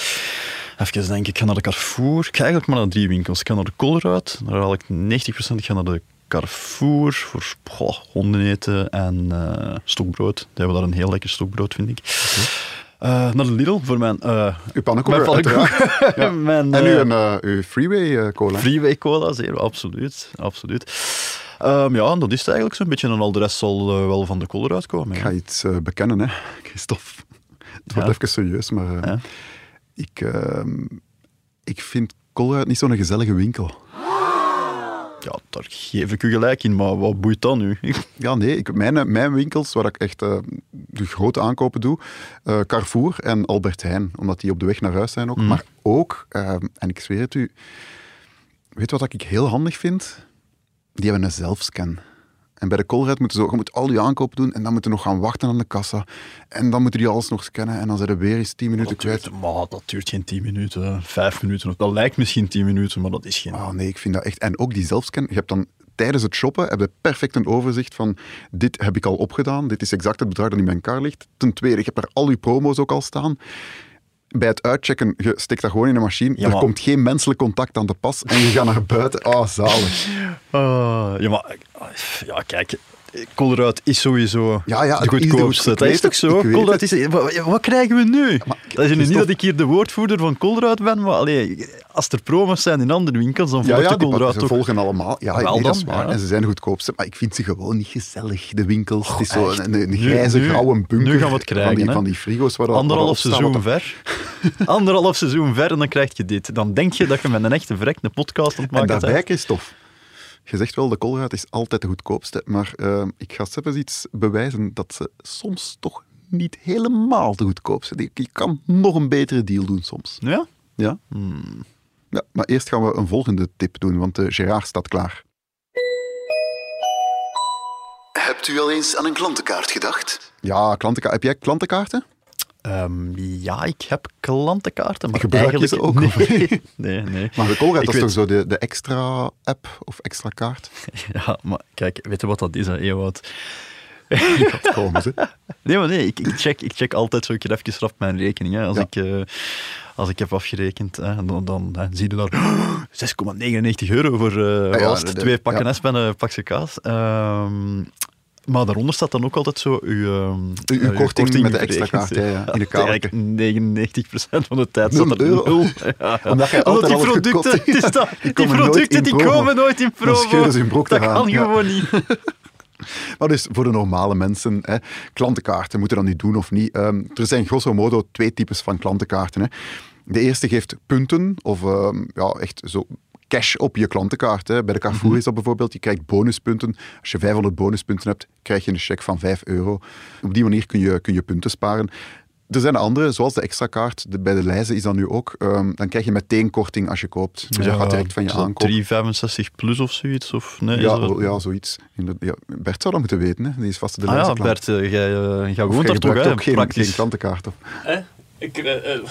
S1: even denken, ik ga naar de Carrefour. Ik ga eigenlijk maar naar drie winkels. Ik ga naar de Colruyt, daar haal ik 90%. Ik ga naar de Carrefour voor goh, hondeneten en eh, stokbrood. Die hebben daar een heel lekker stokbrood, vind ik. Eh, naar de Lidl voor mijn... eh
S2: Uw pannenkoeken,
S1: mijn pannenkoeken.
S2: Ja.
S1: Mijn,
S2: En nu
S1: eh,
S2: een eh, uw freeway eh cola.
S1: Freeway cola, zeer, absoluut. absoluut. Ehm, ja, en dat is het eigenlijk zo'n beetje. En al de rest zal eh, wel van de kolder uitkomen.
S2: Ik
S1: ja.
S2: ga iets eh, bekennen, hè, Christophe. Het wordt
S1: Ja.
S2: even serieus, maar eh,
S1: Ja.
S2: ik, ehm, ik vind Colruyt niet zo'n gezellige winkel.
S1: Ja, daar geef ik u gelijk in, maar wat boeit dat nu?
S2: Ja, nee, ik, mijn, eh, mijn winkels waar ik echt eh, de grote aankopen doe, eh, Carrefour en Albert Heijn, omdat die op de weg naar huis zijn ook. Maar ook, eh, en ik zweer het u, weet wat ik heel handig vind? Die hebben een zelfscan. En bij de Colruyt moeten ze ook, je moet al je aankopen doen en dan moeten nog gaan wachten aan de kassa. En dan moeten die alles nog scannen en dan zijn er weer eens 10 minuten
S1: Dat
S2: kwijt.
S1: duurt, maar dat duurt geen 10 minuten, 5 minuten. of- Dat lijkt misschien 10 minuten, maar dat is geen.
S2: Oh nee, ik vind dat echt. En ook die zelfscan. Je hebt dan tijdens het shoppen heb je perfect een overzicht van dit heb ik al opgedaan, dit is exact het bedrag dat in mijn kar ligt. Ten tweede, je hebt er al je promo's ook al staan. Bij het uitchecken, je steekt dat gewoon in een machine.
S1: Ja,
S2: er
S1: maar-
S2: komt geen menselijk contact aan te pas en je gaat naar buiten. Ah, zalig.
S1: Ah, ja, maar ja, kijk. Colruyt is sowieso
S2: Ja, ja,
S1: de
S2: het is de
S1: goedkoopste.
S2: goed-
S1: Dat
S2: ik
S1: is toch
S2: weet het,
S1: zo?
S2: ik weet
S1: Colruyt is... Wat, wat krijgen we nu? dat is nu niet
S2: Christophe-
S1: dat ik hier de woordvoerder van Colruyt ben, maar allee, als er promos zijn in andere winkels, dan
S2: Ja,
S1: volgt
S2: ja,
S1: de
S2: die
S1: Colruyt
S2: pakken, ze
S1: toch...
S2: volgen allemaal. Ja,
S1: Wel
S2: nee, dat is
S1: dan,
S2: waar.
S1: ja.
S2: En ze zijn de goedkoopste. Maar ik vind ze gewoon niet gezellig, de winkels. het is zo
S1: echt.
S2: een, een
S1: Nu-
S2: grijze,
S1: nu-
S2: grauwe bunker
S1: nu gaan we het krijgen,
S2: van, die,
S1: hè.
S2: van die frigo's. Waar dat- waar dat op
S1: Anderhalf
S2: staat, wat
S1: seizoen
S2: dat-
S1: ver. Anderhalf seizoen ver en dan krijg je dit. Dan denk je dat je met een echte vrek een podcast aan het
S2: En
S1: maken
S2: daarbij,
S1: bent.
S2: Christophe, je zegt wel, de Colruyt is altijd de goedkoopste, maar eh, ik ga zelfs iets bewijzen dat ze soms toch niet helemaal de goedkoopste zijn. Je kan nog een betere deal doen soms.
S1: Ja?
S2: Ja?
S1: Hmm.
S2: ja maar eerst gaan we een volgende tip doen, want de Gerard staat klaar.
S9: Hebt u al eens aan een klantenkaart gedacht?
S2: Ja, klantenka- heb jij klantenkaarten?
S1: Ehm, ja, ik heb klantenkaarten, maar
S2: Gebruik je
S1: eigenlijk...
S2: ze ook, of
S1: Nee, nee. nee.
S2: Maar de Colruyt,
S1: Ik
S2: dat is
S1: weet-
S2: toch zo de, de extra app of extra kaart?
S1: Ja, maar kijk, weet je wat dat is, hè, Ewout?
S2: Dat komen ze.
S1: Nee, maar nee, ik, ik, check, ik check altijd zo een keer even rap mijn rekening. Hè. Als,
S2: Ja.
S1: ik, eh, als ik heb afgerekend, hè, dan, dan hè, zie je daar 6,99 euro voor eh,
S2: Ah ja,
S1: wat was het?
S2: dat- dat-
S1: twee pakken
S2: ja.
S1: espen en een pakje kaas. Ehm, maar daaronder staat dan ook altijd zo uw, ehm,
S2: uw
S1: eh, uw
S2: korting met de
S1: berekend.
S2: extra kaart, ja, ja, in de
S1: eigenlijk 99% van de tijd staat
S2: Nul
S1: er
S2: euro.
S1: nul. Ja, ja.
S2: Omdat jij altijd
S1: die
S2: alles goedkoop
S1: producten,
S2: hebt.
S1: het is dat-
S2: Die
S1: die
S2: komen nooit in
S1: producten die
S2: promo.
S1: komen nooit in
S2: Dan
S1: promo.
S2: scheuren ze hun broek
S1: dat
S2: eraan,
S1: kan
S2: ja.
S1: gewoon niet.
S2: Maar dus voor de normale mensen, hè, klantenkaarten moeten dat nu doen of niet. Ehm, er zijn grosso modo twee types van klantenkaarten. Hè. De eerste geeft punten of ehm, ja, echt zo cash op je klantenkaart. Hè. Bij de Carrefour
S1: Mhm.
S2: is dat bijvoorbeeld. Je krijgt bonuspunten. Als je 500 bonuspunten hebt, krijg je een cheque van 5 euro. Op die manier kun je, kun je punten sparen. Er zijn andere, zoals de extra kaart, de- bij de lijzen is dat nu ook. Ehm, dan krijg je meteen korting als je koopt. Dus dat gaat direct van je
S1: Eh, Is dat
S2: aankoop.
S1: 365 plus of zoiets? Of, nee, is
S2: Ja,
S1: dat-
S2: wel, ja, zoiets. Inderdaad, Ja, Bert zou dat moeten weten. Hè. Die is vast de
S1: Ah ja,
S2: lijzenklant.
S1: Bert, eh, jij, eh, jij
S2: Of
S1: woont daar
S2: jij
S1: toch,
S2: gebruikt
S1: hè?
S2: ook geen,
S1: Praktisch.
S2: geen klantenkaart. op.
S8: Hè? Ik, eh, eh,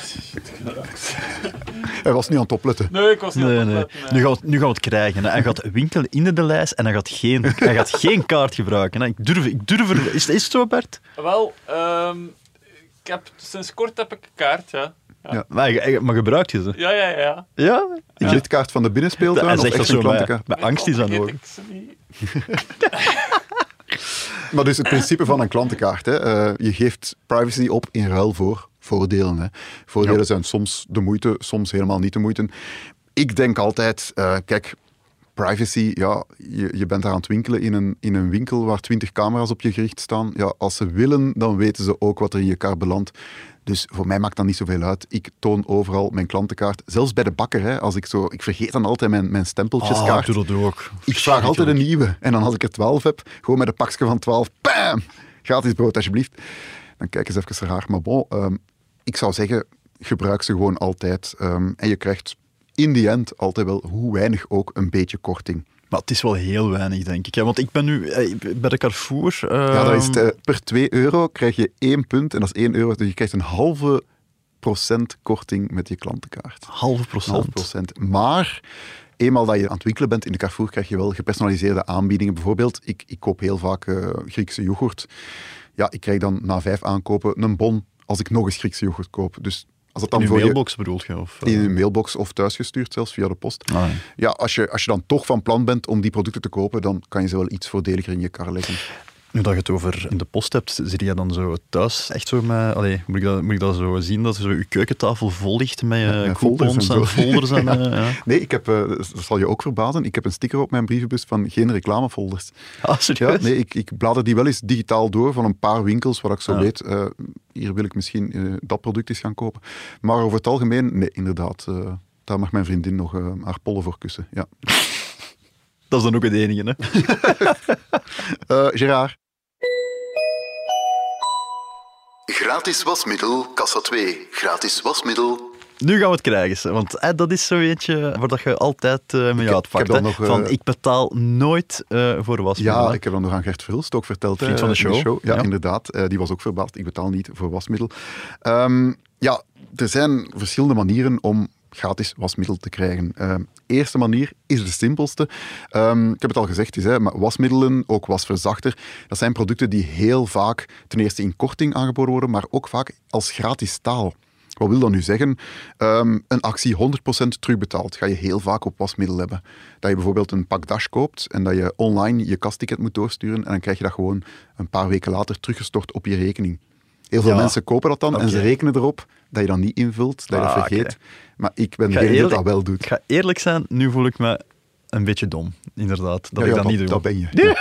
S2: Hij was niet aan het opletten.
S8: nee, ik was niet
S1: Nee,
S8: aan het
S1: nee.
S8: opletten, hè.
S1: Nu gaan, we, het- nu gaan we het krijgen. Hè. Hij gaat winkelen in de lijst en hij gaat geen, hij gaat geen kaart gebruiken. Hè. Ik durf, ik durf er... Is, is het zo, Bert?
S8: Wel, ehm, ik heb, sinds kort heb ik een kaart, ja.
S1: Maar, je- maar gebruikt je ze?
S8: Ja, ja, ja.
S1: Ja?
S2: De lidkaart van de binnenspeeltuin
S1: Hij
S2: of
S1: zegt dat
S2: echt een
S1: zo, maar
S2: klantenkaart?
S1: mijn angst is aan
S8: Vergeet
S1: hoor.
S8: ik ze niet.
S2: Maar dus het principe van een klantenkaart. Hè. eh, je geeft privacy op in ruil voor voordelen. Hè. Voordelen zijn soms de moeite, soms helemaal niet de moeite. Ik denk altijd, eh, kijk, privacy, ja, je, je bent daar aan het winkelen in een, in een winkel waar twintig camera's op je gericht staan. Ja, als ze willen, dan weten ze ook wat er in je kar belandt. Dus voor mij maakt dat niet zoveel uit. Ik toon overal mijn klantenkaart. Zelfs bij de bakker, hè, als ik zo... Ik vergeet dan altijd mijn, mijn
S1: Ah, ik
S2: stempeltjeskaart.
S1: doe dat ook.
S2: Ik vraag altijd een nieuwe. En dan als ik er 12 heb, gewoon met een pakje van 12, bam! Gratis brood, alsjeblieft. Dan kijken ze even raar. Maar bon, ehm, ik zou zeggen, gebruik ze gewoon altijd. Ehm, en je krijgt in die end altijd wel, hoe weinig ook, een beetje korting.
S1: Maar het is wel heel weinig, denk ik. Hè. Want ik ben nu eh, bij de Carrefour...
S2: Ja, dat is
S1: ehm,
S2: het, eh, per 2 euro krijg je 1 punt. En dat is 1 euro. Dus je krijgt een halve procent korting met je klantenkaart.
S1: Halve
S2: Half
S1: procent.
S2: procent. Maar eenmaal dat je aan het winkelen bent in de Carrefour, krijg je wel gepersonaliseerde aanbiedingen. Bijvoorbeeld, ik, ik koop heel vaak eh, Griekse yoghurt. Ja, ik krijg dan na vijf aankopen een bon als ik nog eens Griekse yoghurt koop. Dus als dat dan
S1: In je
S2: voor je
S1: mailbox bedoel je? Of, eh?
S2: in een mailbox of thuisgestuurd zelfs via de post.
S1: Ah, ja.
S2: Ja, als je, als je dan toch van plan bent om die producten te kopen, dan kan je ze wel iets voordeliger in je kar leggen.
S1: Nu dat je het over in de post hebt, zit jij dan zo thuis echt zo met... Allee, moet, ik dat, moet ik dat zo zien, dat zo je keukentafel vol ligt met eh,
S2: met
S1: coupons
S2: folders en
S1: en,
S2: zo.
S1: folders en... eh, ja.
S2: Nee, ik heb, eh, dat zal je ook verbazen, ik heb een sticker op mijn brievenbus van geen reclamefolders.
S1: Ah,
S2: Ja,
S1: serieus?
S2: nee, ik, ik blader die wel eens digitaal door van een paar winkels waar ik zo
S1: Ja.
S2: weet, eh, hier wil ik misschien eh, dat product eens gaan kopen. Maar over het algemeen, nee, inderdaad, eh, daar mag mijn vriendin nog eh, haar pollen voor kussen. Ja.
S1: Dat is dan ook het enige, hè?
S2: Eh Gerard,
S9: Gratis wasmiddel, kassa 2. Gratis wasmiddel.
S1: Nu gaan we het krijgen, ze, want eh, dat is zo eentje waar dat je altijd eh mee uitpakt.
S2: ik heb
S1: hè.
S2: dat nog, eh,
S1: Van, ik betaal nooit eh, voor wasmiddel.
S2: ja,
S1: hè.
S2: ik heb dat nog aan Gert Verhulst ook verteld.
S1: Vriend
S2: eh,
S1: van de
S2: in
S1: show.
S2: Ja,
S1: Ja.
S2: inderdaad. Eh, die was ook verbaasd. Ik betaal niet voor wasmiddel. Ehm, ja, er zijn verschillende manieren om gratis wasmiddel te krijgen. Ehm, eerste manier is de simpelste. Ehm, ik heb het al gezegd, is, hè, maar wasmiddelen, ook wasverzachter, dat zijn producten die heel vaak ten eerste in korting aangeboden worden, maar ook vaak als gratis taal. Wat wil dat nu zeggen? Ehm, een actie 100% terugbetaald ga je heel vaak op wasmiddel hebben. Dat je bijvoorbeeld een pak dash koopt en dat je online je kastticket moet doorsturen en dan krijg je dat gewoon een paar weken later teruggestort op je rekening. Heel veel
S1: Ja.
S2: mensen kopen dat dan en ze
S1: Oké.
S2: rekenen erop dat je dat niet invult, dat je
S1: Ah,
S2: dat
S1: oké.
S2: vergeet. Maar ik ben
S1: Ik ga
S2: degene die
S1: eerlijk-
S2: dat wel
S1: Ik
S2: doet.
S1: ga eerlijk zijn, nu voel ik me een beetje dom, inderdaad. Dat
S2: Ja,
S1: ik
S2: ja,
S1: dat, niet doe.
S2: Dat ben je.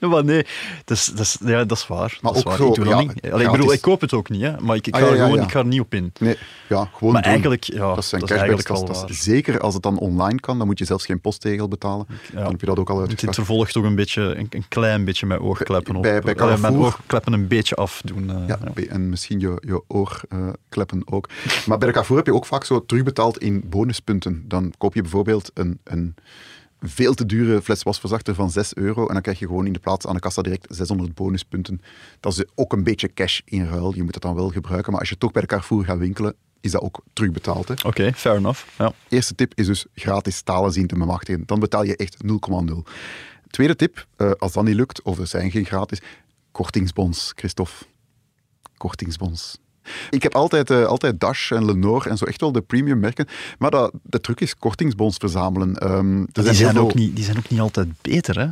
S1: Maar nee, dat is, dat is, ja, dat is waar.
S2: Maar
S1: dat is
S2: ook
S1: waar.
S2: zo,
S1: ik doe dat
S2: ja,
S1: niet. Allee, ik bedoel,
S2: gratis.
S1: ik koop het ook niet, hè, maar ik, ik,
S2: Ah,
S1: ga
S2: ja,
S1: er
S2: ja,
S1: gewoon,
S2: ja.
S1: ik ga er niet op in.
S2: Nee, ja, gewoon
S1: Maar
S2: doen.
S1: eigenlijk, ja,
S2: dat zijn
S1: dat is eigenlijk wel
S2: cashbacktastas.
S1: waar.
S2: Zeker als het dan online kan, dan moet je zelfs geen posttegel betalen. Dan heb je dat ook al
S1: Het, het
S2: uitgebracht.
S1: vervolgt toch een beetje, een, een klein beetje mijn oogkleppen op.
S2: Bij- bij
S1: Eh, mijn
S2: Carrefour.
S1: oogkleppen een beetje afdoen. eh,
S2: Ja,
S1: ja.
S2: en misschien je, je oorkleppen ook. Maar bij de Carrefour heb je ook vaak zo terugbetaald in bonuspunten. Dan koop je bijvoorbeeld een, een veel te dure fles wasverzachter van 6 euro en dan krijg je gewoon in de plaats aan de kassa direct 600 bonuspunten. Dat is ook een beetje cash in ruil. Je moet dat dan wel gebruiken, maar als je toch bij de Carrefour gaat winkelen, is dat ook terugbetaald. Hè?
S1: Oké, fair enough. Ja.
S2: Eerste tip is dus gratis talen zien te bemachtigen. Dan betaal je echt 0,0. Tweede tip, eh, als dat niet lukt, of er zijn geen gratis, kortingsbons, Christophe. Kortingsbons. Ik heb altijd, eh, altijd Dash en Lenore en zo echt wel de premium merken. Maar dat, de truc is kortingsbons verzamelen. Ehm, er
S1: Die,
S2: heel
S1: zijn
S2: veel-
S1: ook niet, die zijn ook niet altijd beter, hè?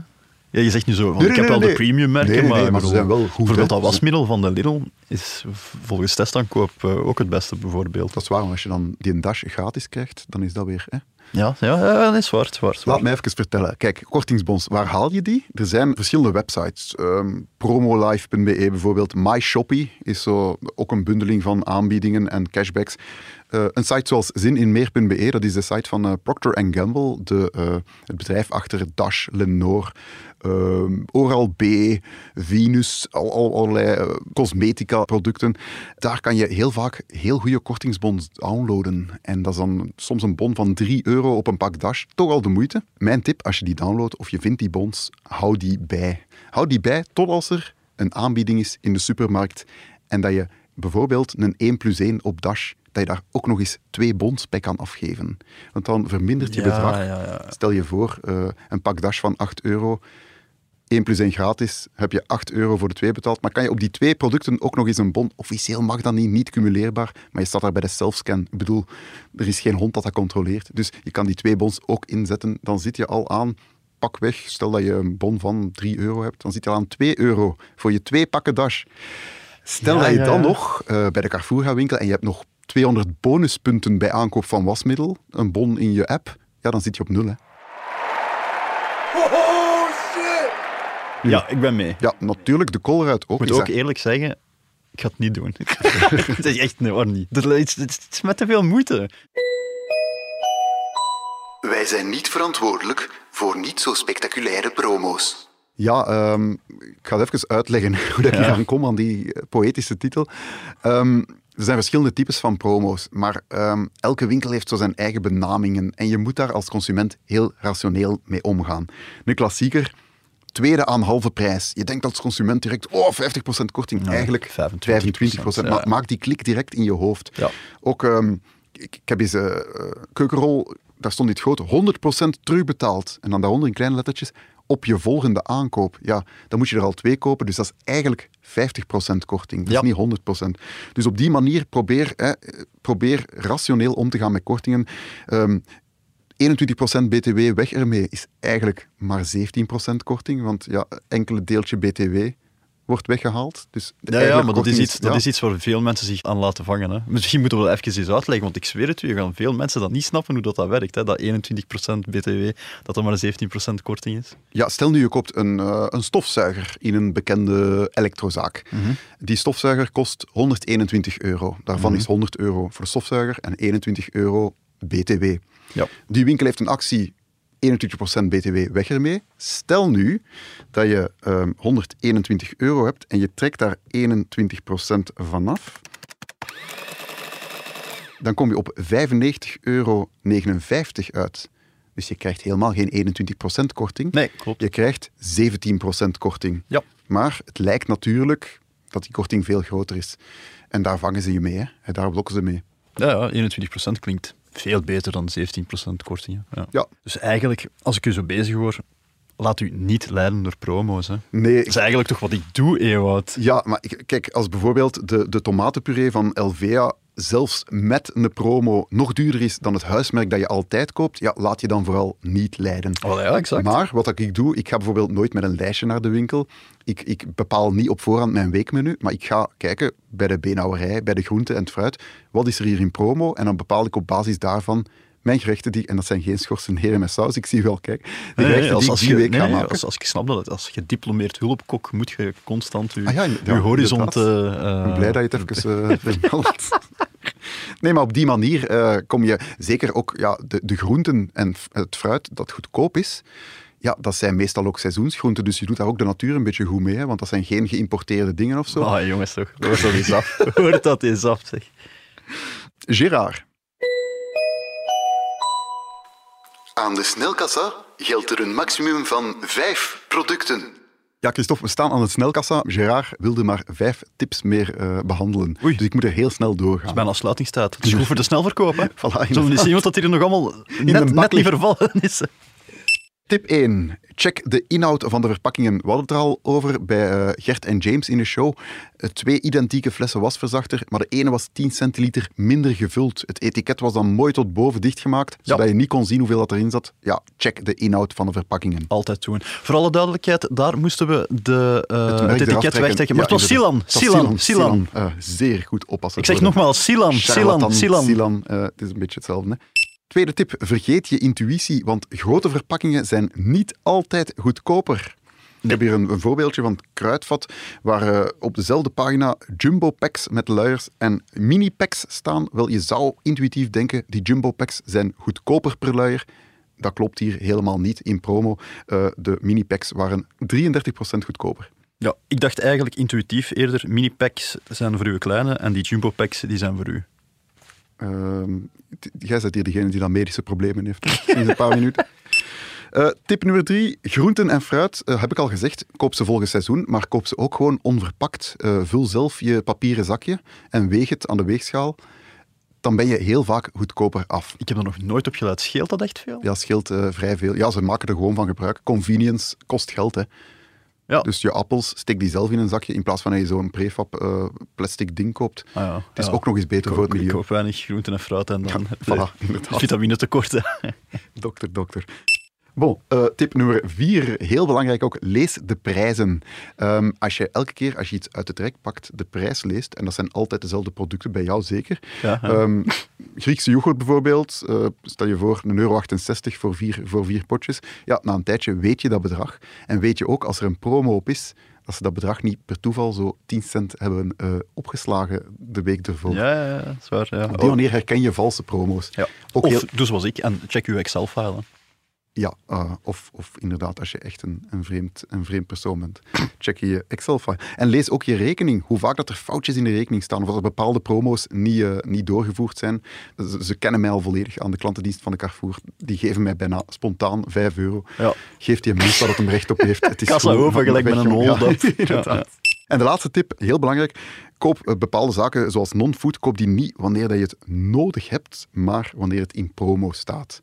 S1: Ja, je zegt nu zo, van,
S2: Nee,
S1: ik
S2: nee,
S1: heb wel
S2: nee,
S1: de
S2: nee.
S1: premium merken,
S2: Nee, nee,
S1: maar,
S2: nee,
S1: ik
S2: maar ze
S1: bedoel,
S2: zijn wel goed,
S1: Bijvoorbeeld
S2: hè.
S1: dat wasmiddel van de Lidl is v- volgens testaankoop eh, ook het beste, bijvoorbeeld.
S2: Dat is waar, want als je dan die een Dash gratis krijgt, dan is dat weer... Hè?
S1: Ja, ja, ja nee, zwart, zwart,
S2: Laat mij even vertellen. Kijk, kortingsbons, waar haal je die? Er zijn verschillende websites. Ehm, promolife.be E bijvoorbeeld. MyShoppy is zo ook een bundeling van aanbiedingen en cashbacks. Eh, een site zoals zininmeer.be, dat is de site van eh, Procter Gamble, de, eh, het bedrijf achter Dash, Lenore, ehm, Oral-B, Venus, al, al- allerlei eh, cosmetica producten. Daar kan je heel vaak heel goede kortingsbons downloaden. En dat is dan soms een bon van 3 euro op een pak Dash. Toch al de moeite. Mijn tip, als je die downloadt of je vindt die bons, hou die bij. Hou die bij totdat er een aanbieding is in de supermarkt en dat je bijvoorbeeld een 1 plus 1 op Dash, dat je daar ook nog eens twee bons bij kan afgeven. Want dan vermindert je
S1: Ja,
S2: bedrag.
S1: ja, ja.
S2: Stel je voor, eh, een pak Dash van 8 euro, 1 plus 1 gratis, heb je 8 euro voor de twee betaald. Maar kan je op die twee producten ook nog eens een bon? Officieel mag dat niet, niet cumuleerbaar. Maar je staat daar bij de selfscan. Ik bedoel, er is geen hond dat dat controleert. Dus je kan die twee bons ook inzetten. Dan zit je al aan, pak weg, stel dat je een bon van 3 euro hebt, dan zit je al aan 2 euro voor je twee pakken Dash. Stel
S1: Ja,
S2: dat je
S1: ja,
S2: dan
S1: ja.
S2: nog eh, bij de Carrefour gaat winkelen en je hebt nog 200 bonuspunten bij aankoop van wasmiddel, een bon in je app, ja, dan zit je op nul, hè.
S1: Ja, ik ben mee.
S2: Ja, natuurlijk, de kool eruit ook.
S1: Ik
S2: is
S1: moet ook
S2: dat-
S1: eerlijk zeggen, ik ga het niet doen. het is echt nee, hoor, niet. Het is, het is met te veel moeite.
S9: Wij zijn niet verantwoordelijk voor niet zo spectaculaire promo's.
S2: Ja, ehm, ik ga het even uitleggen hoe dat ik hier aan kom, aan die eh, poëtische titel. Ehm, er zijn verschillende types van promo's, maar ehm, elke winkel heeft zo zijn eigen benamingen en je moet daar als consument heel rationeel mee omgaan. Een klassieker, tweede aan halve prijs. Je denkt als consument direct, oh, 50% korting. Eigenlijk 25%.
S1: 25%, ja.
S2: Ma- Maak die klik direct in je hoofd.
S1: Ja.
S2: Ook, ehm, ik, ik heb eens eh, eh, keukenrol, daar stond dit groot, 100% terugbetaald. En dan daaronder in kleine lettertjes, op je volgende aankoop. Ja, dan moet je er al twee kopen, dus dat is eigenlijk 50% korting. Dat
S1: Ja.
S2: is niet 100%. Dus op die manier probeer, hè, eh, probeer rationeel om te gaan met kortingen. Ehm 21% BTW weg ermee is eigenlijk maar 17% korting, want ja, enkele deeltje BTW wordt weggehaald. Dus de
S1: Ja, ja
S2: eigenlijke
S1: maar dat is,
S2: korting
S1: iets, dat
S2: ja.
S1: is iets waar veel mensen zich aan laten vangen. Hè. Misschien moeten we dat even eens uitleggen, want ik zweer het u, je gaan veel mensen dat niet snappen hoe dat, dat werkt. Hè. Dat 21% BTW, dat dat maar 17% korting is.
S2: Ja, stel nu je koopt een, eh, een stofzuiger in een bekende elektrozaak. Die stofzuiger kost 121 euro. Daarvan is 100 euro voor de stofzuiger en 21 euro BTW.
S1: Ja.
S2: Die winkel heeft een actie 21% BTW weg ermee. Stel nu dat je ehm, 121 euro hebt en je trekt daar 21% vanaf. Dan kom je op 95,59 euro uit. Dus je krijgt helemaal geen 21% korting.
S1: Nee, klopt.
S2: Je krijgt 17% korting.
S1: Ja.
S2: Maar het lijkt natuurlijk dat die korting veel groter is. En daar vangen ze je mee, hè. daar blokken ze mee.
S1: Ja, ja 21% klinkt veel beter dan 17% korting. hè. Ja.
S2: Ja.
S1: Dus eigenlijk, als ik u zo bezig hoor, laat u niet leiden door promo's. Hè.
S2: Nee,
S1: Dat is eigenlijk toch wat ik doe, Ewout.
S2: Ja, maar ik- kijk, als bijvoorbeeld de, de tomatenpuree van Elvea zelfs met een promo nog duurder is dan het huismerk dat je altijd koopt, ja, laat je dan vooral niet leiden.
S1: Wel ja, exact.
S2: Maar wat ik- ik doe, ik ga bijvoorbeeld nooit met een lijstje naar de winkel. Ik, ik bepaal niet op voorhand mijn weekmenu, maar ik ga kijken bij de beenhouwerij, bij de groenten en het fruit, wat is er hier in promo? En dan bepaal ik op basis daarvan mijn gerechten die, en dat zijn geen schorsenheren met saus, ik zie wel, kijk, de
S1: Nee,
S2: gerechten
S1: nee, als,
S2: die
S1: als
S2: ik
S1: je,
S2: die week
S1: nee,
S2: ga
S1: nee,
S2: maken.
S1: als, als ik snap dat, het- als gediplomeerd hulpkok moet je constant je,
S2: Ah ja,
S1: je
S2: ja,
S1: horizon te... eh,
S2: Ik ben blij dat je het even eh, vermeldt. Nee, maar op die manier eh, kom je zeker ook ja, de, de groenten en f- het fruit dat goedkoop is. Ja, dat zijn meestal ook seizoensgroenten, dus je doet daar ook de natuur een beetje goed mee, hè, want dat zijn geen geïmporteerde dingen of zo.
S1: Ah, jongens toch, hoort dat eens af. Hoort dat eens af, zeg.
S2: Gerard,
S9: Aan de snelkassa geldt er een maximum van vijf producten.
S2: ja Christophe, we staan aan het snelkassa. Gerard wilde maar vijf tips meer eh, behandelen, dus ik moet er heel snel doorgaan.
S1: Bijna sluitingstijd. Het is goed voor de snelverkoop, hè.
S2: Voilà,
S1: Zullen we
S2: inderdaad.
S1: eens zien wat dat hier nog allemaal
S2: een
S1: net,
S2: bak
S1: net niet
S2: ligt.
S1: vervallen is. hè.
S2: Tip 1. Check de inhoud van de verpakkingen. We hadden het er al over bij eh, Gert en James in de show. Eh, twee identieke flessen wasverzachter, maar de ene was 10 centiliter minder gevuld. Het etiket was dan mooi tot boven dichtgemaakt, zodat je niet kon zien hoeveel dat erin zat. Ja, check de inhoud van de verpakkingen.
S1: Altijd doen. Voor alle duidelijkheid, daar moesten we de, eh, het,
S2: merk eraf
S1: etiket
S2: trekken.
S1: wegtrekken. Maar
S2: Ja,
S1: het was
S2: inderdaad.
S1: Silan.
S2: Het was
S1: Silan. Silan.
S2: Silan. Eh, zeer goed oppassen.
S1: Ik zeg
S2: voor de-
S1: nogmaals, Silan. Silan.
S2: Charlatan,
S1: Silan.
S2: Silan, eh, het is een beetje hetzelfde. Hè? Tweede tip, vergeet je intuïtie, want grote verpakkingen zijn niet altijd goedkoper. Ik heb hier een, een voorbeeldje van het kruidvat, waar eh, op dezelfde pagina jumbo packs met luiers en mini packs staan. Wel, je zou intuïtief denken, die jumbo packs zijn goedkoper per luier. Dat klopt hier helemaal niet in promo. Eh, de mini packs waren 33% goedkoper.
S1: Ja, ik dacht eigenlijk intuïtief eerder, mini-packs zijn voor uw kleine en die jumbo-packs die zijn voor u.
S2: Ehm, t- jij bent hier degene die dan medische problemen heeft. In een paar minuten. Eh, tip nummer drie. Groenten en fruit, eh, heb ik al gezegd, koop ze volgens seizoen, maar koop ze ook gewoon onverpakt. Eh, vul zelf je papieren zakje en weeg het aan de weegschaal. Dan ben je heel vaak goedkoper af.
S1: Ik heb er nog nooit op geluid. Scheelt dat echt veel?
S2: Ja, scheelt eh, vrij veel. Ja, ze maken er gewoon van gebruik. Convenience kost geld, hè.
S1: Ja.
S2: Dus je appels, steek die zelf in een zakje, in plaats van dat je zo'n prefab eh, plastic ding koopt.
S1: Ah ja,
S2: Het is
S1: ja.
S2: ook nog eens beter
S1: Ik
S2: voor het
S1: koop- Ik
S2: milieu.
S1: koop weinig groenten en fruit en dan heb je
S2: voilà, inderdaad.
S1: vitamine tekorten.
S2: Dokter, dokter. Bon, eh, tip nummer vier, heel belangrijk ook, lees de prijzen. Ehm, als je elke keer als je iets uit het rek pakt, de prijs leest, en dat zijn altijd dezelfde producten, bij jou zeker.
S1: Ja, ja.
S2: Ehm, Griekse yoghurt bijvoorbeeld, eh, stel je voor 1,68 euro voor vier, voor vier potjes. Ja, na een tijdje weet je dat bedrag. En weet je ook, als er een promo op is, dat ze dat bedrag niet per toeval zo 10 cent hebben eh, opgeslagen de week ervoor.
S1: Ja, ja, ja, dat is waar. Ja.
S2: Op die manier herken je valse promo's.
S1: Ja.
S2: Ook
S1: of dus
S2: heel-
S1: doe zoals ik en check uw Excel-file. hè.
S2: Ja, eh, of, of inderdaad, als je echt een, een, vreemd, een vreemd persoon bent, check je je Excel-file. En lees ook je rekening. Hoe vaak dat er foutjes in de rekening staan, of dat er bepaalde promo's niet, eh, niet doorgevoerd zijn. Ze, ze kennen mij al volledig aan de klantendienst van de Carrefour. Die geven mij bijna spontaan 5 euro.
S1: Ja.
S2: Geeft die een mens wat het hem recht op heeft. Het is
S1: Kassa
S2: gewoon
S1: open,
S2: van
S1: gelijk
S2: weg,
S1: met een
S2: jongen. Ja,
S1: hold-up.
S2: inderdaad. En de laatste tip, heel belangrijk. Koop eh, bepaalde zaken zoals non-food, koop die niet wanneer dat je het nodig hebt, maar wanneer het in promo staat.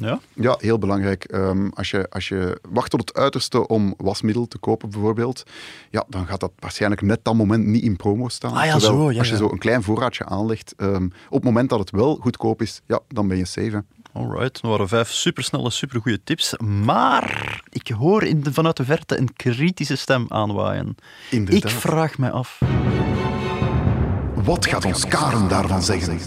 S1: Ja?
S2: Ja, heel belangrijk. Ehm, als, je, als je wacht tot het uiterste om wasmiddel te kopen, bijvoorbeeld, ja, dan gaat dat waarschijnlijk net dat moment niet in promo staan.
S7: Ah ja,
S2: Terwijl
S7: zo, ja,
S2: als je
S7: ja.
S2: zo een klein voorraadje aanlegt, ehm, op het moment dat het wel goedkoop is, ja, dan ben je safe. hè.
S1: Alright, dat waren vijf supersnelle, supergoeie tips. Maar ik hoor in de, vanuit de verte een kritische stem aanwaaien.
S2: Inderdaad.
S1: Ik vraag mij af.
S2: Wat gaat ons Karen daarvan zeggen?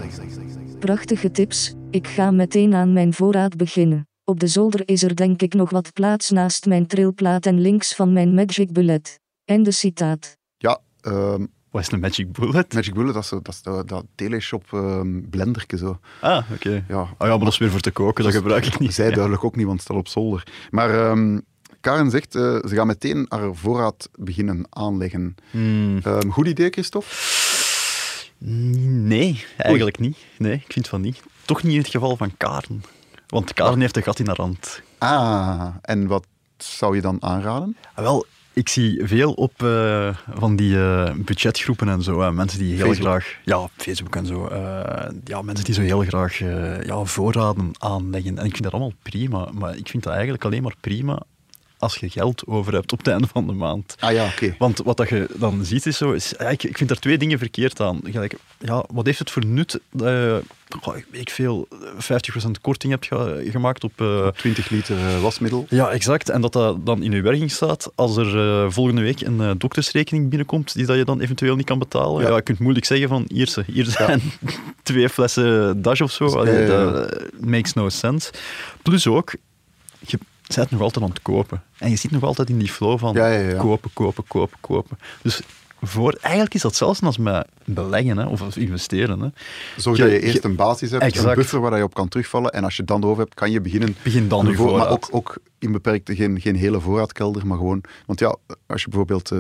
S10: Prachtige tips, ik ga meteen aan mijn voorraad beginnen. Op de zolder is er denk ik nog wat plaats naast mijn trilplaat en links van mijn magic bullet. Einde citaat.
S2: Ja, ehm,
S1: Wat is een Magic Bullet?
S2: Magic Bullet, dat is, zo- dat, is dat, dat teleshop ehm blenderke zo.
S1: Ah, oké.
S2: Ja,
S1: Ah ja, maar dat is weer voor te koken, dat gebruik ik niet.
S2: Zij
S1: Ja.
S2: duidelijk ook niet, want het staat op zolder. Maar ehm, Karen zegt, eh, ze gaan meteen haar voorraad beginnen aanleggen.
S1: Hmm.
S2: Ehm, goed idee, Christophe?
S1: Nee, eigenlijk niet. Nee, ik vind van niet. Toch niet in het geval van Karen. Want Karen heeft een gat in haar hand.
S2: Ah, en wat zou je dan aanraden?
S1: Ah, Wel, ik zie veel op eh, van die eh, budgetgroepen en zo. hè. mensen die heel
S2: Facebook.
S1: graag. Ja, Facebook en zo. eh, ja, mensen die zo heel graag eh, ja, voorraden aanleggen. En ik vind dat allemaal prima. Maar ik vind dat eigenlijk alleen maar prima als je geld over hebt op het einde van de maand.
S2: Ah ja, oké.
S1: Want wat dat je dan ziet is zo... Is, ja, ik, ik vind daar twee dingen verkeerd aan. Gelijk, ja, wat heeft het voor nut dat je, goh, ik weet veel, 50% korting hebt ge- gemaakt op... eh,
S2: 20 liter eh, wasmiddel.
S1: ja, exact. En dat dat dan in je werking staat als er eh, volgende week een eh, doktersrekening binnenkomt die dat je dan eventueel niet kan betalen. Ja,
S2: Ja.
S1: je kunt moeilijk zeggen van hier, ze- hier zijn twee flessen dash of zo. Allee,
S2: ja, ja, ja.
S1: Dat eh, makes no sense. Plus ook, je bent nog altijd aan het kopen. En je zit nog altijd in die flow van
S2: Ja, ja, ja.
S1: kopen, kopen, kopen, kopen. Dus voor, eigenlijk is dat zelfs als met beleggen hè, of als investeren. Hè.
S2: Zorg
S1: Je-
S2: dat je eerst
S1: je-
S2: een basis hebt, een
S1: Exact.
S2: buffer waar je op kan terugvallen. En als je het dan over hebt, kan je beginnen...
S1: Begin dan
S2: aan de
S1: je
S2: voor- Maar
S1: voorraad.
S2: ook, ook in beperkte, geen, geen hele voorraadkelder, maar gewoon... Want ja, als je bijvoorbeeld eh,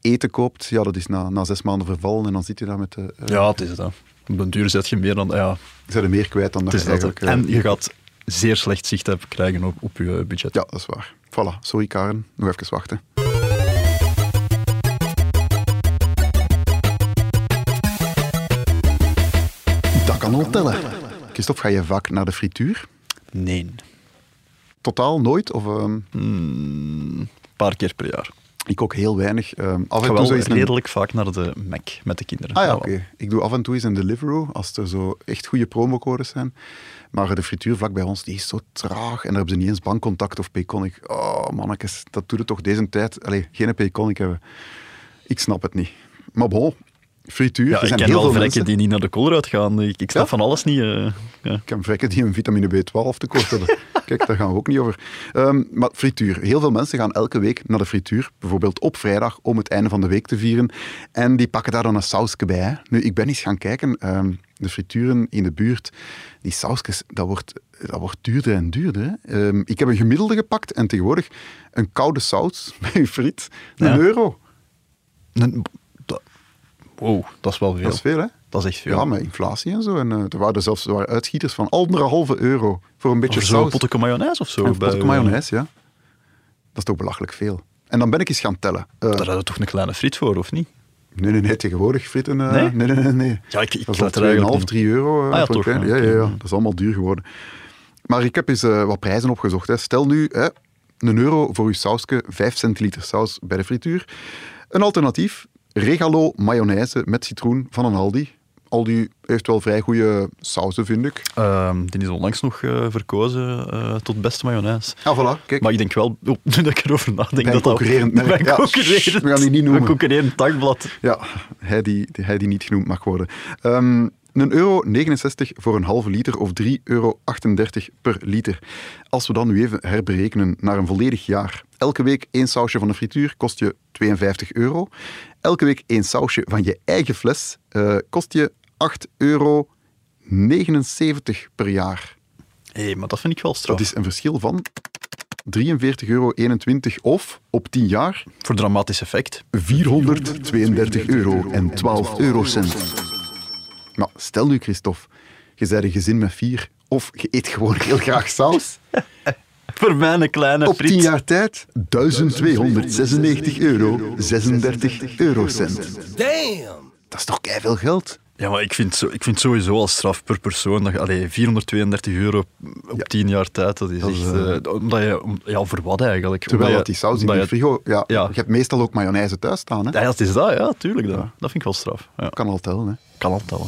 S2: eten koopt, ja, dat is na, na zes maanden vervallen. En dan zit je daar met... eh eh,
S1: Ja, het is het. Hè. Op den duur zet je meer dan... Ja,
S2: zijn er meer kwijt dan dat
S1: Het is
S2: je
S1: dat,
S2: eigenlijk...
S1: hè.
S2: eh,
S1: en je gaat zeer slecht zicht hebben krijgen op, op je eh, budget.
S2: Ja, dat is waar. Voilà, sorry Karen. Nog even wachten. Dat kan al tellen. Christophe, ga je vaak naar de frituur?
S1: Nee.
S2: Totaal nooit? Of, ehm,
S1: Een paar keer per jaar.
S2: ik ook heel weinig. Ehm, af
S1: Ik
S2: en
S1: ga
S2: toe
S1: wel
S2: zo eens een...
S1: redelijk vaak naar de Mac met de kinderen.
S2: Ah ja,
S1: wel.
S2: oké. Ik doe af en toe eens een Deliveroo, als er zo echt goede promocodes zijn. Maar de frituur vlak bij ons, die is zo traag. En daar hebben ze niet eens bankcontact of Payconic. Oh, mannetjes, dat doet het toch deze tijd. Allee, geen Payconic hebben. Ik snap het niet. Maar bon, frituur.
S1: Ja,
S2: er
S1: ik
S2: zijn
S1: ken
S2: heel
S1: wel
S2: veel
S1: vlekken die
S2: mensen...
S1: niet naar de koolruit gaan. Ik, ik snap
S2: Ja?
S1: van alles niet. eh, ja.
S2: Ik ken vrekken die een vitamine B12 tekort hebben. Kijk, daar gaan we ook niet over. Ehm, maar frituur. Heel veel mensen gaan elke week naar de frituur, bijvoorbeeld op vrijdag, om het einde van de week te vieren. En die pakken daar dan een sausje bij. hè. Nu, ik ben eens gaan kijken, ehm, de frituren in de buurt, die sausjes, dat wordt, dat wordt duurder en duurder. hè. Ehm, ik heb een gemiddelde gepakt en tegenwoordig een koude saus bij een friet, een
S1: Ja.
S2: euro.
S1: Nee, dat- Wow, dat is wel veel.
S2: Dat is veel, hè?
S1: Dat is echt veel.
S2: Ja, met inflatie en zo. En, eh, er waren zelfs er waren uitschieters van anderhalve euro voor een beetje
S1: Of Oh, zo'n
S2: saus.
S1: potje mayonaise of zo.
S2: Een
S1: bij- eh,
S2: potje mayonaise, ja. Dat is toch belachelijk veel. En dan ben ik eens gaan tellen. Eh,
S1: Daar hadden we toch een kleine friet voor, of niet?
S2: nee, nee, nee, tegenwoordig frieten. eh,
S1: Nee?
S2: Nee, nee, nee. nee.
S1: Ja, ik, ik
S2: Dat is
S1: let er
S2: al 2,5,
S1: eigenlijk niet
S2: 3 euro. eh,
S1: Ah ja,
S2: voor een
S1: toch,
S2: klein-
S1: ja,
S2: ja, ja, ja.
S1: oké.
S2: Dat is allemaal duur geworden. Maar ik heb eens eh, wat prijzen opgezocht. Hè. Stel nu hè, een euro voor uw sausje, 5 centiliter saus bij de frituur. Een alternatief, Regalo mayonaise met citroen van een Aldi. Aldi heeft wel vrij goede sauzen, vind ik.
S1: op. Ehm, die is onlangs nog eh, verkozen eh, tot beste mayonaise.
S2: Ah, voilà, kijk.
S1: Maar ik denk wel, oh, nu dat ik erover nadenk,
S2: Bij een
S1: dat dat
S2: concurrerend merk,
S1: bij een
S2: ja.
S1: concurrerend,
S2: We gaan die niet noemen.
S1: Een concurrerend dagblad.
S2: Ja, hij die, die- hij die niet genoemd mag worden. Ehm een euro 69 voor een halve liter of 3,38 euro per liter. Als we dan nu even herberekenen naar een volledig jaar. Elke week één sausje van de frituur kost je 52 euro. Elke week één sausje van je eigen fles eh, kost je 8,79 euro per jaar.
S1: Hé, maar dat vind ik wel straf.
S2: Dat is een verschil van 43,21 euro of op 10 jaar
S1: Voor dramatisch effect.
S2: 432 euro en 12 eurocent. Maar stel nu, Christophe, je bent een gezin met vier of je eet gewoon heel graag saus.
S1: Voor mijn kleine
S2: Op
S1: friet.
S2: 10 jaar tijd 1296 euro 36 eurocent. Damn! Dat is toch veel geld?
S1: Ja, maar ik vind, zo, ik vind sowieso al straf per persoon. Dat je, allee, 432 euro op 10 jaar tijd, dat is
S2: Dat
S1: echt...
S2: is,
S1: eh, omdat je, om- ja, voor wat eigenlijk?
S2: Terwijl
S1: Omdat
S2: dat die
S1: je-
S2: saus in
S1: omdat
S2: de
S1: je-
S2: frigo... Ja,
S1: Ja.
S2: Je hebt meestal ook mayonaise thuis staan, hè?
S1: Ja, dat is dat, ja, tuurlijk. Dat, dat vind ik wel straf. Ja,
S2: Kan al tellen, hè?
S1: kan al tellen.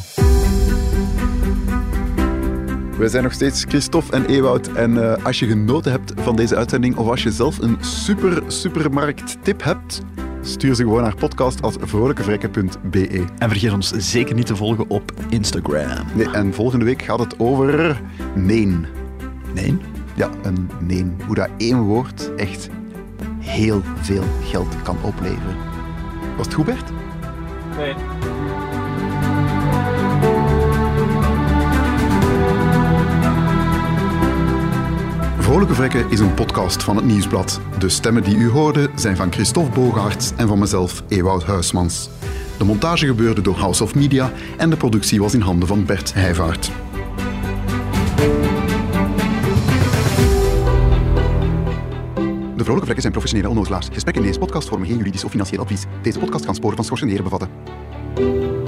S2: Wij zijn nog steeds Christophe en Ewout. En eh, als je genoten hebt van deze uitzending of als je zelf een super supermarkttip hebt, stuur ze gewoon naar podcast als vrolijkevrekken.be.
S1: En vergeet ons zeker niet te volgen op Instagram.
S2: Nee, en volgende week gaat het over neen.
S1: Nee?
S2: Ja, een neen. Hoe dat één woord echt heel veel geld kan opleveren. Was het goed, Bert?
S8: Nee.
S2: Vrolijke Vrekken is een podcast van het Nieuwsblad. De stemmen die u hoorde zijn van Christophe Bogaerts en van mezelf, Ewout Huismans. De montage gebeurde door House of Media en de productie was in handen van Bert Heijvaart. De Vrolijke Vrekken zijn professionele onnozelaars. Gesprekken in deze podcast vormen geen juridisch of financieel advies. Deze podcast kan sporen van schorseneren bevatten.